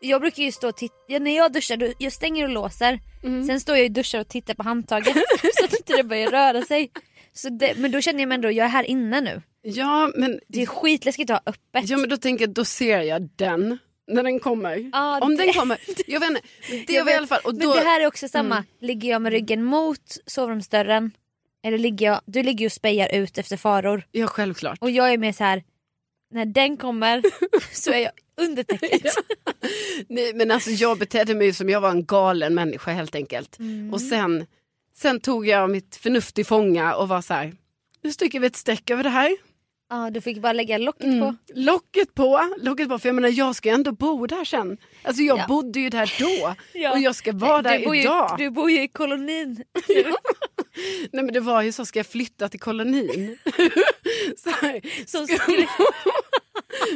[SPEAKER 3] Jag brukar ju stå och titta, ja, när jag duschar, då, jag stänger och låser.
[SPEAKER 2] Mm.
[SPEAKER 3] Sen står jag i duschar och tittar på handtaget *laughs* så att inte det börjar röra sig. Så det, men då känner jag mig ändå, jag är här inne nu.
[SPEAKER 2] Ja, men...
[SPEAKER 3] Det är skitläskigt att ha öppet.
[SPEAKER 2] Ja men då tänker jag, då ser jag den när den kommer.
[SPEAKER 3] Ja,
[SPEAKER 2] Om
[SPEAKER 3] det-
[SPEAKER 2] den kommer. Jag vet inte. Men
[SPEAKER 3] *laughs*
[SPEAKER 2] Det
[SPEAKER 3] Jag
[SPEAKER 2] var i
[SPEAKER 3] vet,
[SPEAKER 2] alla fall. Och
[SPEAKER 3] Men
[SPEAKER 2] då, Mm.
[SPEAKER 3] det här är också samma, ligger jag med ryggen mot sovrumsdörren eller ligger jag, du ligger ju och spejar ut efter faror.
[SPEAKER 2] Ja självklart.
[SPEAKER 3] Och jag är mer så här. när den
[SPEAKER 2] *laughs*
[SPEAKER 3] kommer så är jag under täcket.
[SPEAKER 2] Nej, men alltså jag betedde mig ju som jag var en galen människa helt enkelt.
[SPEAKER 3] Mm.
[SPEAKER 2] Och sen, sen tog jag mitt förnuft i fånga och var så här. Nu stryker vi ett streck över det här. Mm.
[SPEAKER 3] Ja, du fick bara lägga locket på.
[SPEAKER 2] Locket på, locket på. För jag menar jag ska ju ändå bo där sen. Alltså jag
[SPEAKER 3] Ja.
[SPEAKER 2] bodde ju där då.
[SPEAKER 3] *laughs* Ja.
[SPEAKER 2] Och jag ska vara där
[SPEAKER 3] du bor ju,
[SPEAKER 2] idag.
[SPEAKER 3] Du bor ju i
[SPEAKER 2] *laughs*
[SPEAKER 3] kolonin. *laughs*
[SPEAKER 2] Nej men det var ju så, ska jag flytta
[SPEAKER 3] *laughs*
[SPEAKER 2] till kolonin? *laughs* så här,
[SPEAKER 3] Som
[SPEAKER 2] ska-
[SPEAKER 3] skulle-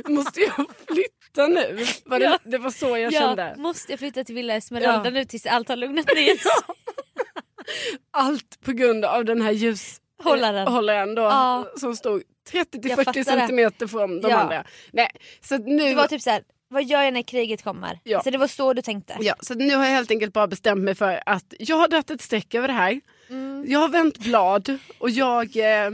[SPEAKER 2] Måste jag flytta nu? Var det,
[SPEAKER 3] Ja.
[SPEAKER 2] det var så jag
[SPEAKER 3] Ja,
[SPEAKER 2] kände.
[SPEAKER 3] måste jag flytta till Villa Esmeralda
[SPEAKER 2] Ja.
[SPEAKER 3] nu tills allt har lugnat ner sig?
[SPEAKER 2] Allt på grund av den här
[SPEAKER 3] Hållaren.
[SPEAKER 2] ljushållaren hållaren då,
[SPEAKER 3] Ja.
[SPEAKER 2] som stod 30 till
[SPEAKER 3] Jag
[SPEAKER 2] 40
[SPEAKER 3] fattar det.
[SPEAKER 2] centimeter från de
[SPEAKER 3] Ja.
[SPEAKER 2] andra. Nej, så att nu,
[SPEAKER 3] Det var typ så här, vad gör jag när kriget kommer?
[SPEAKER 2] Ja.
[SPEAKER 3] Så det var så du tänkte?
[SPEAKER 2] ja, så att nu har jag helt enkelt bara bestämt mig för att jag har dragit ett streck över det här.
[SPEAKER 3] Mm.
[SPEAKER 2] Jag har vänt blad och jag, eh,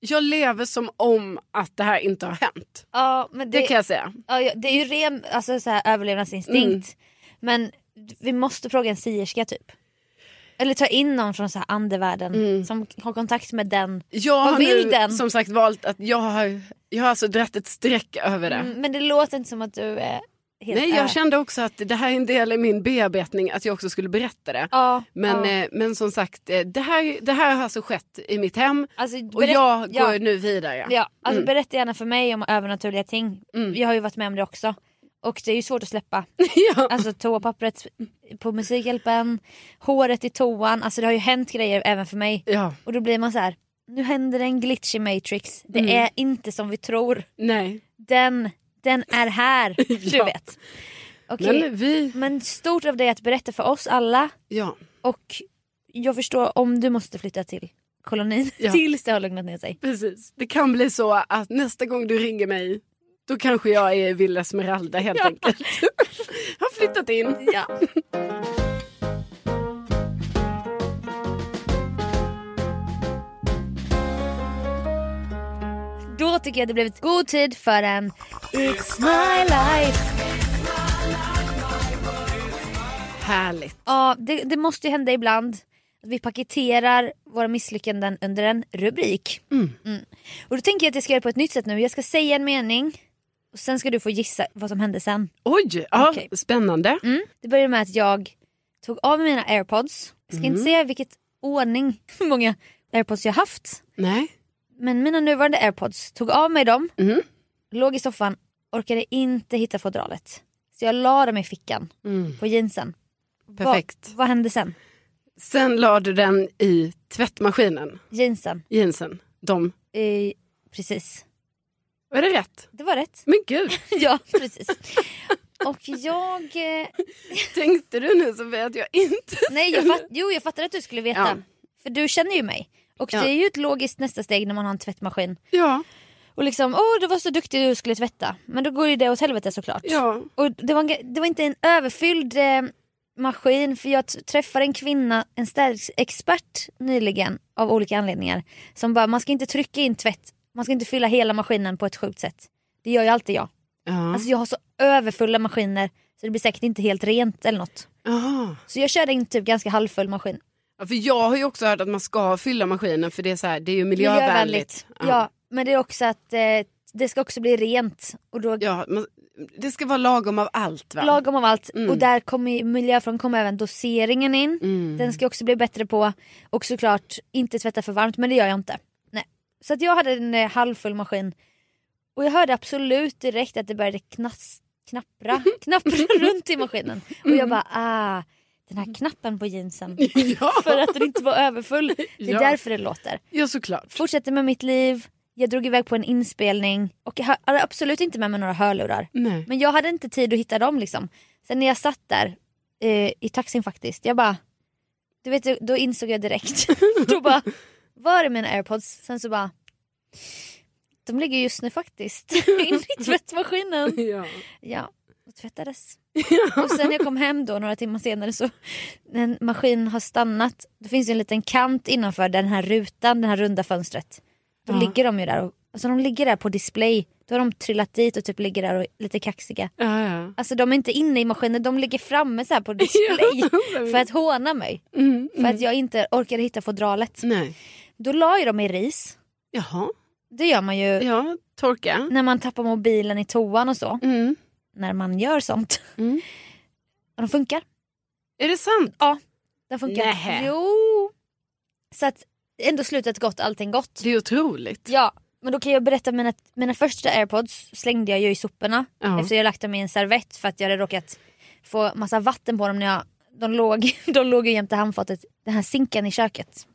[SPEAKER 2] jag lever som om att det här inte har hänt.
[SPEAKER 3] Ja, men
[SPEAKER 2] Det
[SPEAKER 3] det,
[SPEAKER 2] kan jag säga. Mm.
[SPEAKER 3] ja, ja, det är ju ren alltså, så här, överlevnadsinstinkt. Men vi måste fråga en sierska typ. Eller ta in någon från så här andevärlden som har kontakt med den.
[SPEAKER 2] Mm. Jag
[SPEAKER 3] Vad
[SPEAKER 2] har
[SPEAKER 3] vill
[SPEAKER 2] nu
[SPEAKER 3] den?
[SPEAKER 2] som sagt valt att jag har, jag har alltså dragit ett streck över det.
[SPEAKER 3] Mm, Men det låter inte som att du är helt
[SPEAKER 2] Nej,
[SPEAKER 3] ö.
[SPEAKER 2] jag kände också att det här är en del i min bearbetning att jag också skulle berätta det.
[SPEAKER 3] Ja,
[SPEAKER 2] Men,
[SPEAKER 3] ja.
[SPEAKER 2] eh, men som sagt, eh, det här, det här har alltså skett i mitt hem
[SPEAKER 3] Alltså,
[SPEAKER 2] och
[SPEAKER 3] berätt-
[SPEAKER 2] jag går
[SPEAKER 3] ja.
[SPEAKER 2] nu vidare. Mm.
[SPEAKER 3] Ja, alltså berätta gärna för mig om övernaturliga ting. Jag har ju varit med om det också. Och det är ju svårt att släppa.
[SPEAKER 2] *laughs* Ja.
[SPEAKER 3] Alltså toapappret på Musikhjälpen, håret i toan. Alltså det har ju hänt grejer även för mig.
[SPEAKER 2] Ja,
[SPEAKER 3] Och då blir man så här. nu händer det en glitch i Matrix. Det är inte som vi tror.
[SPEAKER 2] Mm. nej.
[SPEAKER 3] Den, den är här, du
[SPEAKER 2] *laughs* Ja.
[SPEAKER 3] vet. Okej,
[SPEAKER 2] Men vi...
[SPEAKER 3] men stort av dig att berätta för oss alla.
[SPEAKER 2] Ja.
[SPEAKER 3] Och jag förstår om du måste flytta till kolonin *laughs*
[SPEAKER 2] Ja.
[SPEAKER 3] tills det har lugnat ner sig.
[SPEAKER 2] Precis. Det kan bli så att nästa gång du ringer mig då kanske jag är i Villa Esmeralda helt enkelt. *laughs* Har flyttat in.
[SPEAKER 3] Ja. Då tycker jag det blivit god tid för en It's my life.
[SPEAKER 2] Härligt.
[SPEAKER 3] Ja, det, det måste ju hända ibland.
[SPEAKER 2] Vi paketerar våra misslyckanden under en rubrik.
[SPEAKER 1] Mm.
[SPEAKER 2] Och då tänker jag att jag ska göra på ett nytt sätt nu. Jag ska säga en mening och sen ska du få gissa vad som hände sen.
[SPEAKER 1] Oj, ja,
[SPEAKER 2] Okej.
[SPEAKER 1] spännande.
[SPEAKER 2] Mm. Det började med att jag tog av mig mina airpods. Jag ska
[SPEAKER 1] Mm.
[SPEAKER 2] inte säga vilket ordning, *laughs* hur många airpods jag haft.
[SPEAKER 1] Nej.
[SPEAKER 2] Men mina nuvarande airpods, tog av mig dem,
[SPEAKER 1] Mm.
[SPEAKER 2] låg i soffan, orkade inte hitta fodralet. Så jag la dem i fickan
[SPEAKER 1] Mm.
[SPEAKER 2] på jeansen.
[SPEAKER 1] Perfekt.
[SPEAKER 2] Vad, vad hände sen?
[SPEAKER 1] Sen la du den i tvättmaskinen,
[SPEAKER 2] Jeansen.
[SPEAKER 1] jeansen. De.
[SPEAKER 2] Eh, precis.
[SPEAKER 1] Var det rätt?
[SPEAKER 2] Det var rätt.
[SPEAKER 1] Men gud,
[SPEAKER 2] *laughs* ja, precis. Och jag... Eh,
[SPEAKER 1] *laughs* tänkte du nu Sofia att jag inte...
[SPEAKER 2] nej, jag fatt, jo, jag fattar att du skulle veta.
[SPEAKER 1] Ja.
[SPEAKER 2] För du känner ju mig. Och
[SPEAKER 1] Ja.
[SPEAKER 2] det är ju ett logiskt nästa steg när man har en tvättmaskin.
[SPEAKER 1] Ja,
[SPEAKER 2] Och liksom, åh du var så duktig du skulle tvätta. Men då går ju det åt helvete såklart.
[SPEAKER 1] ja.
[SPEAKER 2] Och det var, en ga- det var inte en överfylld eh, maskin för jag t- träffade en kvinna, en städexpert nyligen av olika anledningar. Som bara, man ska inte trycka in tvätt, man ska inte fylla hela maskinen på ett sjukt sätt. Det gör ju alltid jag.
[SPEAKER 1] ja.
[SPEAKER 2] Alltså jag har så överfulla maskiner så det blir säkert inte helt rent eller något.
[SPEAKER 1] Aha.
[SPEAKER 2] Så jag körde in typ ganska halvfull maskin.
[SPEAKER 1] Ja, för jag har ju också hört att man ska fylla maskinen för det är, så här, det är ju miljövänligt.
[SPEAKER 2] Ja. men det är också att eh, det ska också bli rent och då
[SPEAKER 1] Ja, man, det ska vara lagom av allt va?
[SPEAKER 2] lagom av allt.
[SPEAKER 1] Mm.
[SPEAKER 2] Och där kommer ju- miljöfrån kommer även doseringen in.
[SPEAKER 1] Mm.
[SPEAKER 2] Den ska jag också bli bättre på. Och såklart inte tvätta för varmt, men det gör jag inte. Nej. Så att jag hade en eh, halvfull maskin. Och jag hörde absolut direkt att det började knas-
[SPEAKER 1] *laughs*
[SPEAKER 2] knappra, knappra runt i maskinen. Och jag bara ah, den här knappen på jeansen.
[SPEAKER 1] *laughs* Mm. *laughs* Ja,
[SPEAKER 2] För att den inte var överfull. Det är
[SPEAKER 1] Ja.
[SPEAKER 2] därför det låter.
[SPEAKER 1] ja såklart.
[SPEAKER 2] Fortsätter med mitt liv. Jag drog iväg på en inspelning och jag hör- hade absolut inte med mig några hörlurar.
[SPEAKER 1] Nej.
[SPEAKER 2] Men jag hade inte tid att hitta dem liksom. Sen när jag satt där eh, i taxin faktiskt, jag bara... Du vet, då insåg jag direkt. *laughs* då bara, var är mina airpods? Sen så bara... De ligger just nu faktiskt *laughs* in
[SPEAKER 1] *laughs*
[SPEAKER 2] i tvättmaskinen.
[SPEAKER 1] Ja.
[SPEAKER 2] Ja, och tvättades. *laughs* Och sen när jag kom hem då några timmar senare så när en maskin har stannat, då finns det en liten kant innanför den här rutan, det här runda fönstret. Då
[SPEAKER 1] Ja.
[SPEAKER 2] ligger de ju där och alltså de ligger där på display. Då har de trillat dit och typ ligger där och är lite kaxiga.
[SPEAKER 1] Ja, ja.
[SPEAKER 2] Alltså de är inte inne i maskinen, de ligger framme så
[SPEAKER 1] *laughs*
[SPEAKER 2] här på display. för att håna mig.
[SPEAKER 1] Mm,
[SPEAKER 2] För att jag inte orkade hitta fodralet.
[SPEAKER 1] Nej.
[SPEAKER 2] Då la jag dem i ris.
[SPEAKER 1] Jaha,
[SPEAKER 2] Det gör man ju
[SPEAKER 1] ja, torka.
[SPEAKER 2] när man tappar mobilen i toan och så.
[SPEAKER 1] Mm.
[SPEAKER 2] När man gör sånt.
[SPEAKER 1] Mm.
[SPEAKER 2] Och de funkar.
[SPEAKER 1] Är det sant?
[SPEAKER 2] Den funkar.
[SPEAKER 1] Nähä.
[SPEAKER 2] Jo. Så att ändå slutet gott, allting gott.
[SPEAKER 1] Det är otroligt.
[SPEAKER 2] Ja, men då kan jag berätta mina, mina första airpods slängde jag ju i soporna.
[SPEAKER 1] Ja.
[SPEAKER 2] Efter jag lagt dem i en servett för att jag hade råkat få massa vatten på dem när jag, de låg, *laughs* de låg ju jämte handfatet. Den här sinken i köket.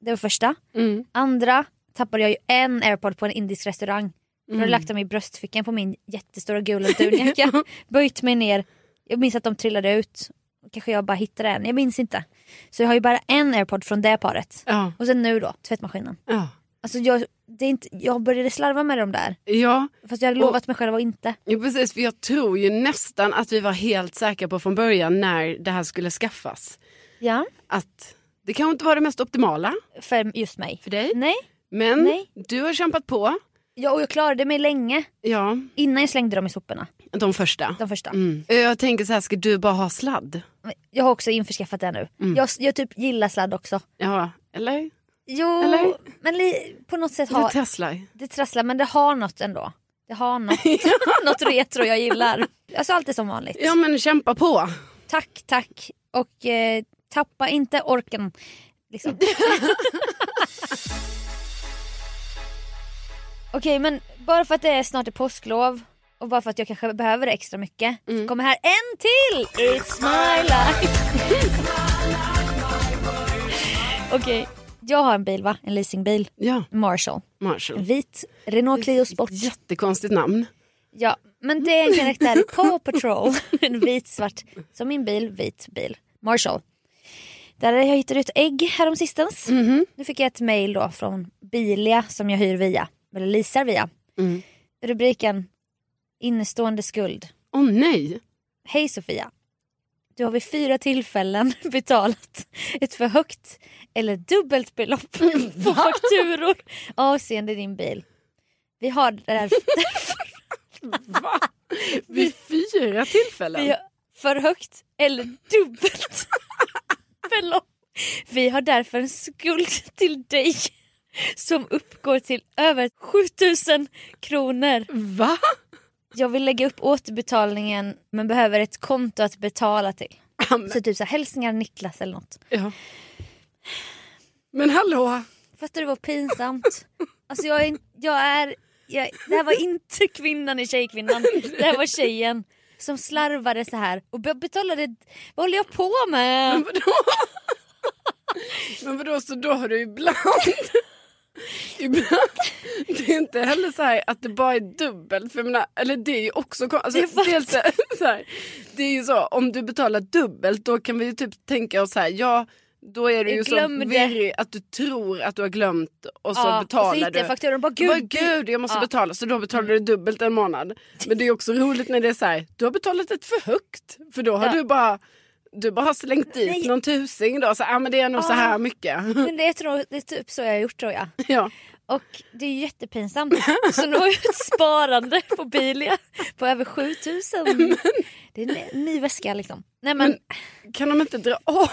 [SPEAKER 2] Det var första.
[SPEAKER 1] Mm.
[SPEAKER 2] Andra tappade jag ju en airpod på en indisk restaurang. Då hade jag
[SPEAKER 1] Mm.
[SPEAKER 2] lagt dem i bröstfickan på min jättestora gula
[SPEAKER 1] *laughs*
[SPEAKER 2] dunjacka. Böjt mig ner. Jag minns att de trillade ut. Kanske jag bara hittade en, jag minns inte. Så jag har ju bara en airpod från det paret.
[SPEAKER 1] Ja.
[SPEAKER 2] Och sen nu då, tvättmaskinen.
[SPEAKER 1] Ja.
[SPEAKER 2] Alltså jag, det är inte, jag började slarva med dem där.
[SPEAKER 1] ja,
[SPEAKER 2] Fast jag hade lovat mig själv att inte.
[SPEAKER 1] Ja precis, för jag tror ju nästan att vi var helt säkra på från början när det här skulle skaffas.
[SPEAKER 2] Ja.
[SPEAKER 1] Att det kanske inte var det mest optimala
[SPEAKER 2] För just mig.
[SPEAKER 1] för dig.
[SPEAKER 2] Nej.
[SPEAKER 1] Men
[SPEAKER 2] Nej.
[SPEAKER 1] du har kämpat på.
[SPEAKER 2] Ja, och jag klarade mig länge
[SPEAKER 1] Ja,
[SPEAKER 2] innan jag slängde dem i soporna.
[SPEAKER 1] de första.
[SPEAKER 2] De första.
[SPEAKER 1] Mm. Jag tänker så här, ska du bara ha sladd? Mm.
[SPEAKER 2] Jag har också införskaffat det nu. Jag, jag typ gillar sladd också.
[SPEAKER 1] Ja, eller?
[SPEAKER 2] Jo,
[SPEAKER 1] Eller?
[SPEAKER 2] men li, på något sätt
[SPEAKER 1] Eller
[SPEAKER 2] har...
[SPEAKER 1] Tesla?
[SPEAKER 2] Det trasslar men det har något ändå. Det
[SPEAKER 1] *laughs*
[SPEAKER 2] har något, något retro jag gillar. Alltså allt är som vanligt.
[SPEAKER 1] Ja men kämpa på.
[SPEAKER 2] Tack, tack. Och eh, tappa inte orken.
[SPEAKER 1] *laughs*
[SPEAKER 2] Liksom. Okej men bara för att det är snart är påsklov och bara för att jag kanske behöver det extra mycket så kommer här en till! It's my life! *laughs* Okej, jag har en bil va? En leasingbil.
[SPEAKER 1] Ja,
[SPEAKER 2] Marshall.
[SPEAKER 1] Marshall.
[SPEAKER 2] Vit Renault Clio Sport.
[SPEAKER 1] Jättekonstigt namn.
[SPEAKER 2] Ja, men det är en karaktär, Paw Patrol. *laughs* En vit, svart, som min bil, vit bil. Marshall. Där jag hittade ett ägg häromsistens. Nu fick jag ett mail då från Bilia som jag hyr via, eller leasar via.
[SPEAKER 1] Mm.
[SPEAKER 2] Rubriken Innestående skuld.
[SPEAKER 1] Åh nej.
[SPEAKER 2] Hej Sofia. Du har vid fyra tillfällen *laughs* betalat ett för högt eller
[SPEAKER 1] *laughs*
[SPEAKER 2] dubbelt belopp på fakturor avseende din bil. Vi har
[SPEAKER 1] *laughs*
[SPEAKER 2] därför
[SPEAKER 1] Va? Vid fyra tillfällen? *laughs*
[SPEAKER 2] Vi har för högt eller dubbelt belopp Vi har därför en skuld till dig som uppgår till över 7000 kronor.
[SPEAKER 1] Va?
[SPEAKER 2] Jag vill lägga upp återbetalningen men behöver ett konto att betala till.
[SPEAKER 1] Amen.
[SPEAKER 2] Så typ så här, hälsningar Niklas eller något.
[SPEAKER 1] Ja. Men hallå!
[SPEAKER 2] Fattar du vad pinsamt? Alltså jag är, in- jag är jag, det här var inte kvinnan i Tjejkvinnan. Det här var tjejen som slarvade så här och be- betalade, vad håller jag på med?
[SPEAKER 1] Vadå? Men vadå, så då har du ibland... *laughs* ibland... Det är inte heller så här att det bara är dubbelt. För jag menar, eller det är ju också... kon- Alltså,
[SPEAKER 2] Jag fattar.
[SPEAKER 1] dels är det så här, *laughs* det är ju så, om du betalar dubbelt då kan vi ju typ tänka oss så här, ja då är du
[SPEAKER 2] Jag
[SPEAKER 1] ju så
[SPEAKER 2] glömde.
[SPEAKER 1] virrig att du tror att du har glömt och så
[SPEAKER 2] Ja,
[SPEAKER 1] betalar
[SPEAKER 2] och så hittar
[SPEAKER 1] du.
[SPEAKER 2] jag fakturan och bara
[SPEAKER 1] Du
[SPEAKER 2] gud.
[SPEAKER 1] bara, gud jag måste
[SPEAKER 2] Ja.
[SPEAKER 1] betala så då betalar du dubbelt en månad. Men det är också roligt när det är så här, du har betalat ett för högt för då har
[SPEAKER 2] Ja.
[SPEAKER 1] du bara du bara har slängt dit
[SPEAKER 2] Nej.
[SPEAKER 1] någon tusing då, så ah, men det är nog så
[SPEAKER 2] Ja.
[SPEAKER 1] här mycket.
[SPEAKER 2] Men det, är, tror- det är typ så jag har gjort tror jag.
[SPEAKER 1] *laughs* ja.
[SPEAKER 2] Och det är ju jättepinsamt. Så nu har jag ett sparande på Bilia på över 7000. Det är en ny väska liksom. Nej men,
[SPEAKER 1] Kan de inte dra av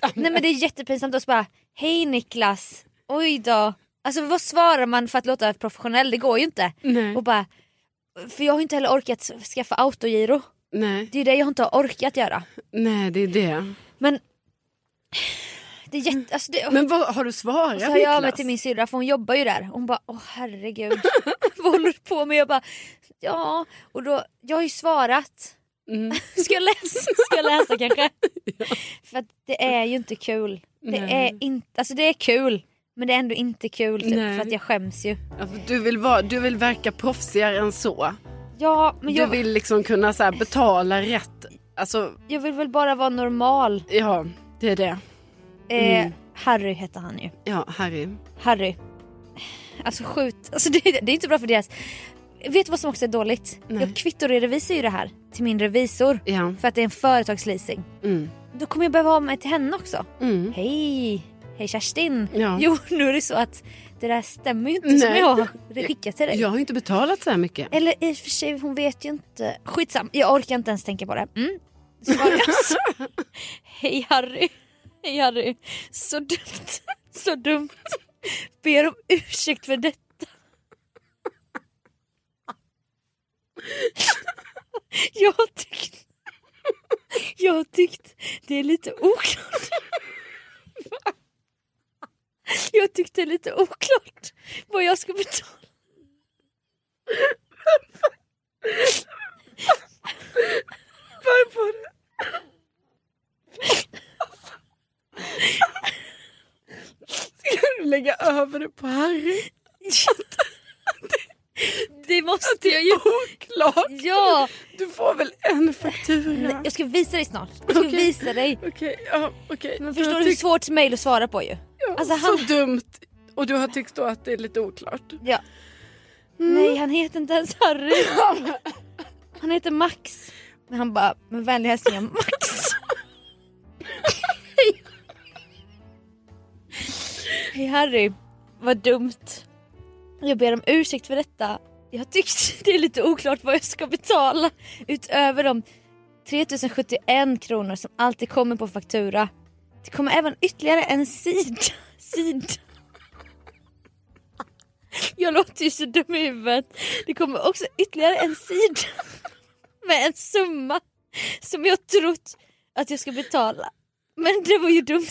[SPEAKER 1] den?
[SPEAKER 2] nej, men det är jättepinsamt och så bara hej Niklas, oj då. Alltså vad svarar man för att låta professionell? Det går ju inte.
[SPEAKER 1] Nej.
[SPEAKER 2] Och bara, för jag har ju inte heller orkat skaffa autogiro.
[SPEAKER 1] nej,
[SPEAKER 2] Det är ju det jag inte har orkat göra.
[SPEAKER 1] nej, det är det.
[SPEAKER 2] Men det är jätte... Alltså det,
[SPEAKER 1] Men vad har du svarat
[SPEAKER 2] Och så hör jag av mig
[SPEAKER 1] Niklas?
[SPEAKER 2] till min syrra för hon jobbar ju där. Hon bara åh herregud *laughs* vad håller du på med? Jag bara ja och då, jag har ju svarat.
[SPEAKER 1] Mm.
[SPEAKER 2] *laughs* Ska jag läsa, Ska jag
[SPEAKER 1] *laughs*
[SPEAKER 2] läsa kanske? För att det är ju inte kul. Det
[SPEAKER 1] Nej.
[SPEAKER 2] är inte, alltså det är kul men det är ändå inte kul typ,
[SPEAKER 1] Nej.
[SPEAKER 2] för att jag skäms ju.
[SPEAKER 1] Ja, för Du vill, vara, du vill verka proffsigare än så.
[SPEAKER 2] Ja men jag
[SPEAKER 1] Du
[SPEAKER 2] vill...
[SPEAKER 1] vill liksom kunna så här, betala rätt. Alltså,
[SPEAKER 2] jag vill väl bara vara normal.
[SPEAKER 1] ja, det är det.
[SPEAKER 2] Eh, Harry heter han ju.
[SPEAKER 1] Mm. Ja, Harry.
[SPEAKER 2] Harry. Alltså skjut, alltså det, det är inte bra för deras... Vet du vad som också är dåligt?
[SPEAKER 1] Nej.
[SPEAKER 2] Jag kvittoredovisar ju det här till min revisor.
[SPEAKER 1] Ja.
[SPEAKER 2] För att det är en företagsleasing.
[SPEAKER 1] Mm.
[SPEAKER 2] Då kommer jag behöva ha mig till henne också.
[SPEAKER 1] Mm.
[SPEAKER 2] Hej! Hej Kerstin!
[SPEAKER 1] Ja.
[SPEAKER 2] Jo, *laughs* nu är det så att det där stämmer ju inte som
[SPEAKER 1] Nej.
[SPEAKER 2] jag har skickat till dig.
[SPEAKER 1] Jag har inte betalat så här mycket.
[SPEAKER 2] Eller i och för sig, hon vet ju inte. Skitsam, jag orkar inte ens tänka på det. Mm. Svarar jag så- Hej Harry! Hej Harry! Så dumt! Så dumt! Ber om ursäkt för detta. Jag har tyckt... Jag har tyckt det är lite oklart. Jag har tyckt det är lite oklart vad jag ska betala.
[SPEAKER 1] Kan du lägga över det på Harry?
[SPEAKER 2] Det måste jag ju.
[SPEAKER 1] Oklart!
[SPEAKER 2] Ja!
[SPEAKER 1] Du får väl en faktura?
[SPEAKER 2] Jag ska visa dig snart. Jag ska
[SPEAKER 1] Okej.
[SPEAKER 2] visa dig.
[SPEAKER 1] Okej, ja okej.
[SPEAKER 2] Men
[SPEAKER 1] Du
[SPEAKER 2] förstår
[SPEAKER 1] har
[SPEAKER 2] du hur
[SPEAKER 1] tyckt-
[SPEAKER 2] svårt mejl att svara på ju?
[SPEAKER 1] ja,
[SPEAKER 2] alltså, han-
[SPEAKER 1] Så dumt! Och du har tyckt då att det är lite oklart? Mm.
[SPEAKER 2] Ja. Nej han heter inte ens Harry.
[SPEAKER 1] *laughs*
[SPEAKER 2] Han heter Max. Men han bara, med vänliga hälsningar Max. *laughs* Hej Harry, vad dumt. Jag ber om ursäkt för detta. Jag tyckte *laughs* det är lite oklart vad jag ska betala utöver de 3071 kronor som alltid kommer på faktura. Det kommer även ytterligare en sida. *laughs* sida. Jag låter ju så dum i huvudet. Det kommer också ytterligare en sida med en summa som jag trott att jag ska betala. Men det var ju dumt.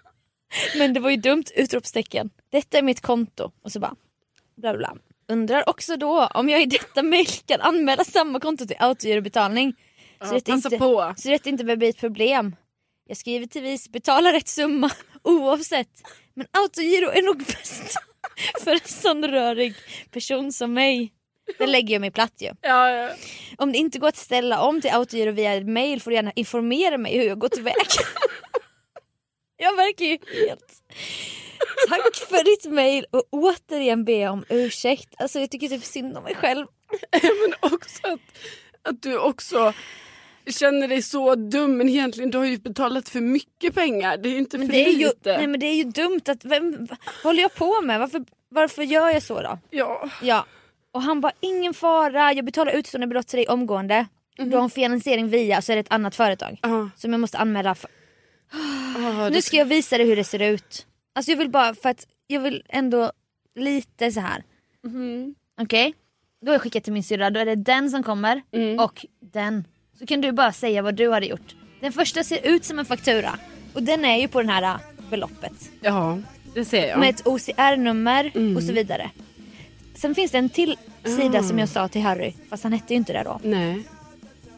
[SPEAKER 2] *laughs* Men det var ju dumt! Utropstecken. Detta är mitt konto. Och så bara bla bla. Undrar också då om jag i detta mejl kan anmäla samma konto till autogirobetalning. Så
[SPEAKER 1] Ja,
[SPEAKER 2] detta
[SPEAKER 1] passa
[SPEAKER 2] inte,
[SPEAKER 1] på.
[SPEAKER 2] så detta inte behöver bli ett problem. Jag ska givetvis betala rätt summa *laughs* oavsett. Men autogiro är nog bäst *laughs* för en sån rörig person som mig. Det lägger jag mig platt ju.
[SPEAKER 1] Ja, ja.
[SPEAKER 2] Om det inte går att ställa om till autogiro via mail får du gärna informera mig hur jag gått
[SPEAKER 1] *laughs*
[SPEAKER 2] tillväga. jag verkar ju helt... Tack för ditt mail och återigen be om ursäkt. Alltså jag tycker typ synd om
[SPEAKER 1] *laughs*
[SPEAKER 2] mig själv.
[SPEAKER 1] Men också att, att du också känner dig så dum men egentligen du har ju betalat för mycket pengar. Det är ju inte
[SPEAKER 2] Men
[SPEAKER 1] för
[SPEAKER 2] det är ju,
[SPEAKER 1] lite.
[SPEAKER 2] nej men det är ju dumt att... Vem, vad håller jag på med? Varför, varför gör jag så då?
[SPEAKER 1] Ja.
[SPEAKER 2] Ja. Och han bara ingen fara, jag betalar utstående belopp till dig omgående. Du har en finansiering via så är det ett annat företag.
[SPEAKER 1] Mhm. Ja.
[SPEAKER 2] Som jag måste anmäla för.
[SPEAKER 1] Ah,
[SPEAKER 2] Nu
[SPEAKER 1] det,
[SPEAKER 2] ska jag visa dig hur det ser ut. Alltså jag vill bara för att jag vill ändå lite så här.
[SPEAKER 1] Mhm.
[SPEAKER 2] Okej? Då har jag skickat till min syrra, då är det den som kommer
[SPEAKER 1] Mm.
[SPEAKER 2] och den. Så kan du bara säga vad du hade gjort. Den första ser ut som en faktura och den är ju på det här äh, beloppet.
[SPEAKER 1] ja, det ser jag. Mm.
[SPEAKER 2] Med ett OCR-nummer och så vidare. Sen finns det en till sida som jag sa till Harry, fast han hette ju inte det då.
[SPEAKER 1] Ah. Nej.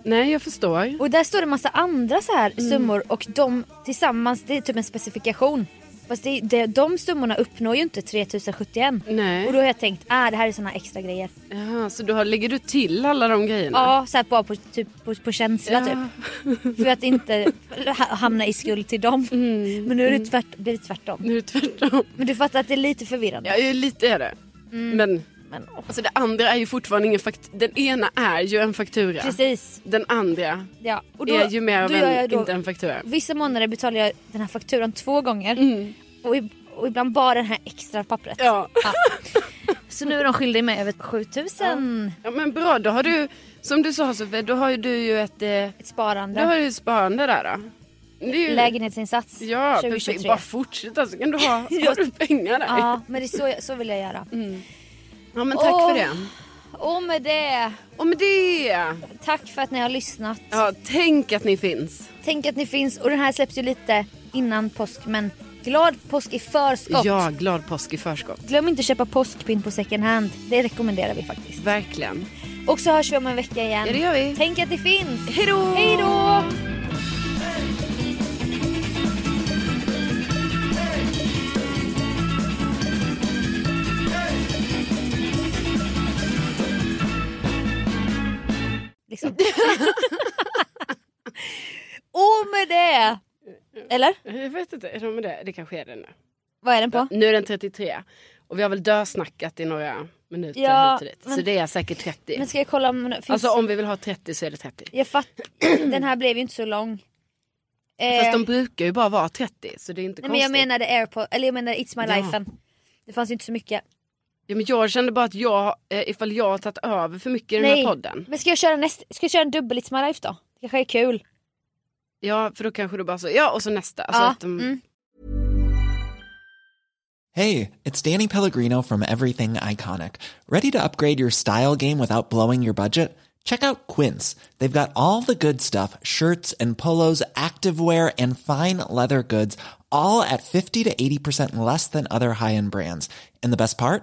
[SPEAKER 1] Nej, jag förstår.
[SPEAKER 2] Och där står det massa andra så här
[SPEAKER 1] Mm.
[SPEAKER 2] summor och de tillsammans, det är typ en specifikation. Fast det, det, de summorna uppnår ju inte 3071.
[SPEAKER 1] Nej.
[SPEAKER 2] Och då har jag tänkt, ah det här är såna extra grejer.
[SPEAKER 1] Jaha, så du har, lägger du till alla de grejerna?
[SPEAKER 2] Ja, så här bara på, typ, på, på känsla typ. För att inte ha- hamna i skuld till dem. Men nu är det tvärt, blivit tvärtom.
[SPEAKER 1] Mm, Nu är det tvärtom.
[SPEAKER 2] Men du fattar att det är lite förvirrande. Mm.
[SPEAKER 1] Ja, ju lite är det. Men
[SPEAKER 2] Men, åh,
[SPEAKER 1] alltså det andra är ju fortfarande ingen faktura. Den ena är ju en faktura.
[SPEAKER 2] Precis.
[SPEAKER 1] Den andra
[SPEAKER 2] Ja. Och
[SPEAKER 1] är ju mer av
[SPEAKER 2] då gör
[SPEAKER 1] en,
[SPEAKER 2] jag då-
[SPEAKER 1] inte en faktura.
[SPEAKER 2] Vissa månader betalar jag den här fakturan två gånger. Och, ib- och ibland bara det här extra pappret.
[SPEAKER 1] Mm. Ja.
[SPEAKER 2] Så nu är de skyldiga mig över 7000.
[SPEAKER 1] ja, men bra. Då har du, som du sa Sofie, då har ju du ju ett, eh,
[SPEAKER 2] Ett
[SPEAKER 1] då har
[SPEAKER 2] sparande.
[SPEAKER 1] du ju sparande där. Då. Det är ju,
[SPEAKER 2] Lägenhetsinsats
[SPEAKER 1] Ja, perfekt.
[SPEAKER 2] 2023.
[SPEAKER 1] Bara fortsätta så kan du
[SPEAKER 2] *laughs*
[SPEAKER 1] ha, har du pengar där. Ja.
[SPEAKER 2] Ja, men det är så, jag- så vill jag göra.
[SPEAKER 1] men tack
[SPEAKER 2] Åh.
[SPEAKER 1] för det.
[SPEAKER 2] Och med det,
[SPEAKER 1] Och med det.
[SPEAKER 2] tack för att ni har lyssnat.
[SPEAKER 1] Ja, tänk att ni finns.
[SPEAKER 2] Tänk att ni finns och den här släpps ju lite innan påsk men glad påsk i förskott.
[SPEAKER 1] Ja, glad påsk i förskott.
[SPEAKER 2] Glöm inte att köpa påskpynt på second hand. Det rekommenderar vi faktiskt.
[SPEAKER 1] Verkligen.
[SPEAKER 2] Och så hörs vi om en vecka igen.
[SPEAKER 1] Ja, det gör vi.
[SPEAKER 2] Tänk att det finns.
[SPEAKER 1] Hej då!
[SPEAKER 2] Hej då! Liksom.
[SPEAKER 1] *laughs*
[SPEAKER 2] Och med det! Eller?
[SPEAKER 1] Jag vet inte, är de med det? Det kanske är det nu.
[SPEAKER 2] Vad är den på?
[SPEAKER 1] Nu är den 33. Och vi har väl dösnackat i några minuter
[SPEAKER 2] Ja,
[SPEAKER 1] hit och dit. Så
[SPEAKER 2] men-
[SPEAKER 1] det är säkert 30.
[SPEAKER 2] Men ska jag kolla om det finns...
[SPEAKER 1] Alltså om vi vill ha 30 så är det 30.
[SPEAKER 2] Jag fattar. *clears throat* Den här blev ju inte så lång. Eh,
[SPEAKER 1] Fast de brukar ju bara vara 30 så det är inte
[SPEAKER 2] nej, men
[SPEAKER 1] konstigt.
[SPEAKER 2] jag menade airpod, eller jag menade It's My
[SPEAKER 1] Ja.
[SPEAKER 2] Life. Det fanns ju inte så mycket.
[SPEAKER 1] ja, men jag kände bara att jag, eh, ifall jag har tagit över för mycket i den här podden.
[SPEAKER 2] Men ska jag köra näst, ska jag köra en dubbel It's My Life då? Det kanske är kul.
[SPEAKER 1] Ja för då kanske du bara så, ja och så nästa. Alltså
[SPEAKER 2] Ja,
[SPEAKER 1] att de,
[SPEAKER 2] mm.
[SPEAKER 4] Hey, it's Danny Pellegrino from Everything Iconic. Ready to upgrade your style game without blowing your budget? Check out Quince. They've got all the good stuff shirts and polos, activewear, and fine leather goods, all at 50 to 80% less than other high end brands. And the best part?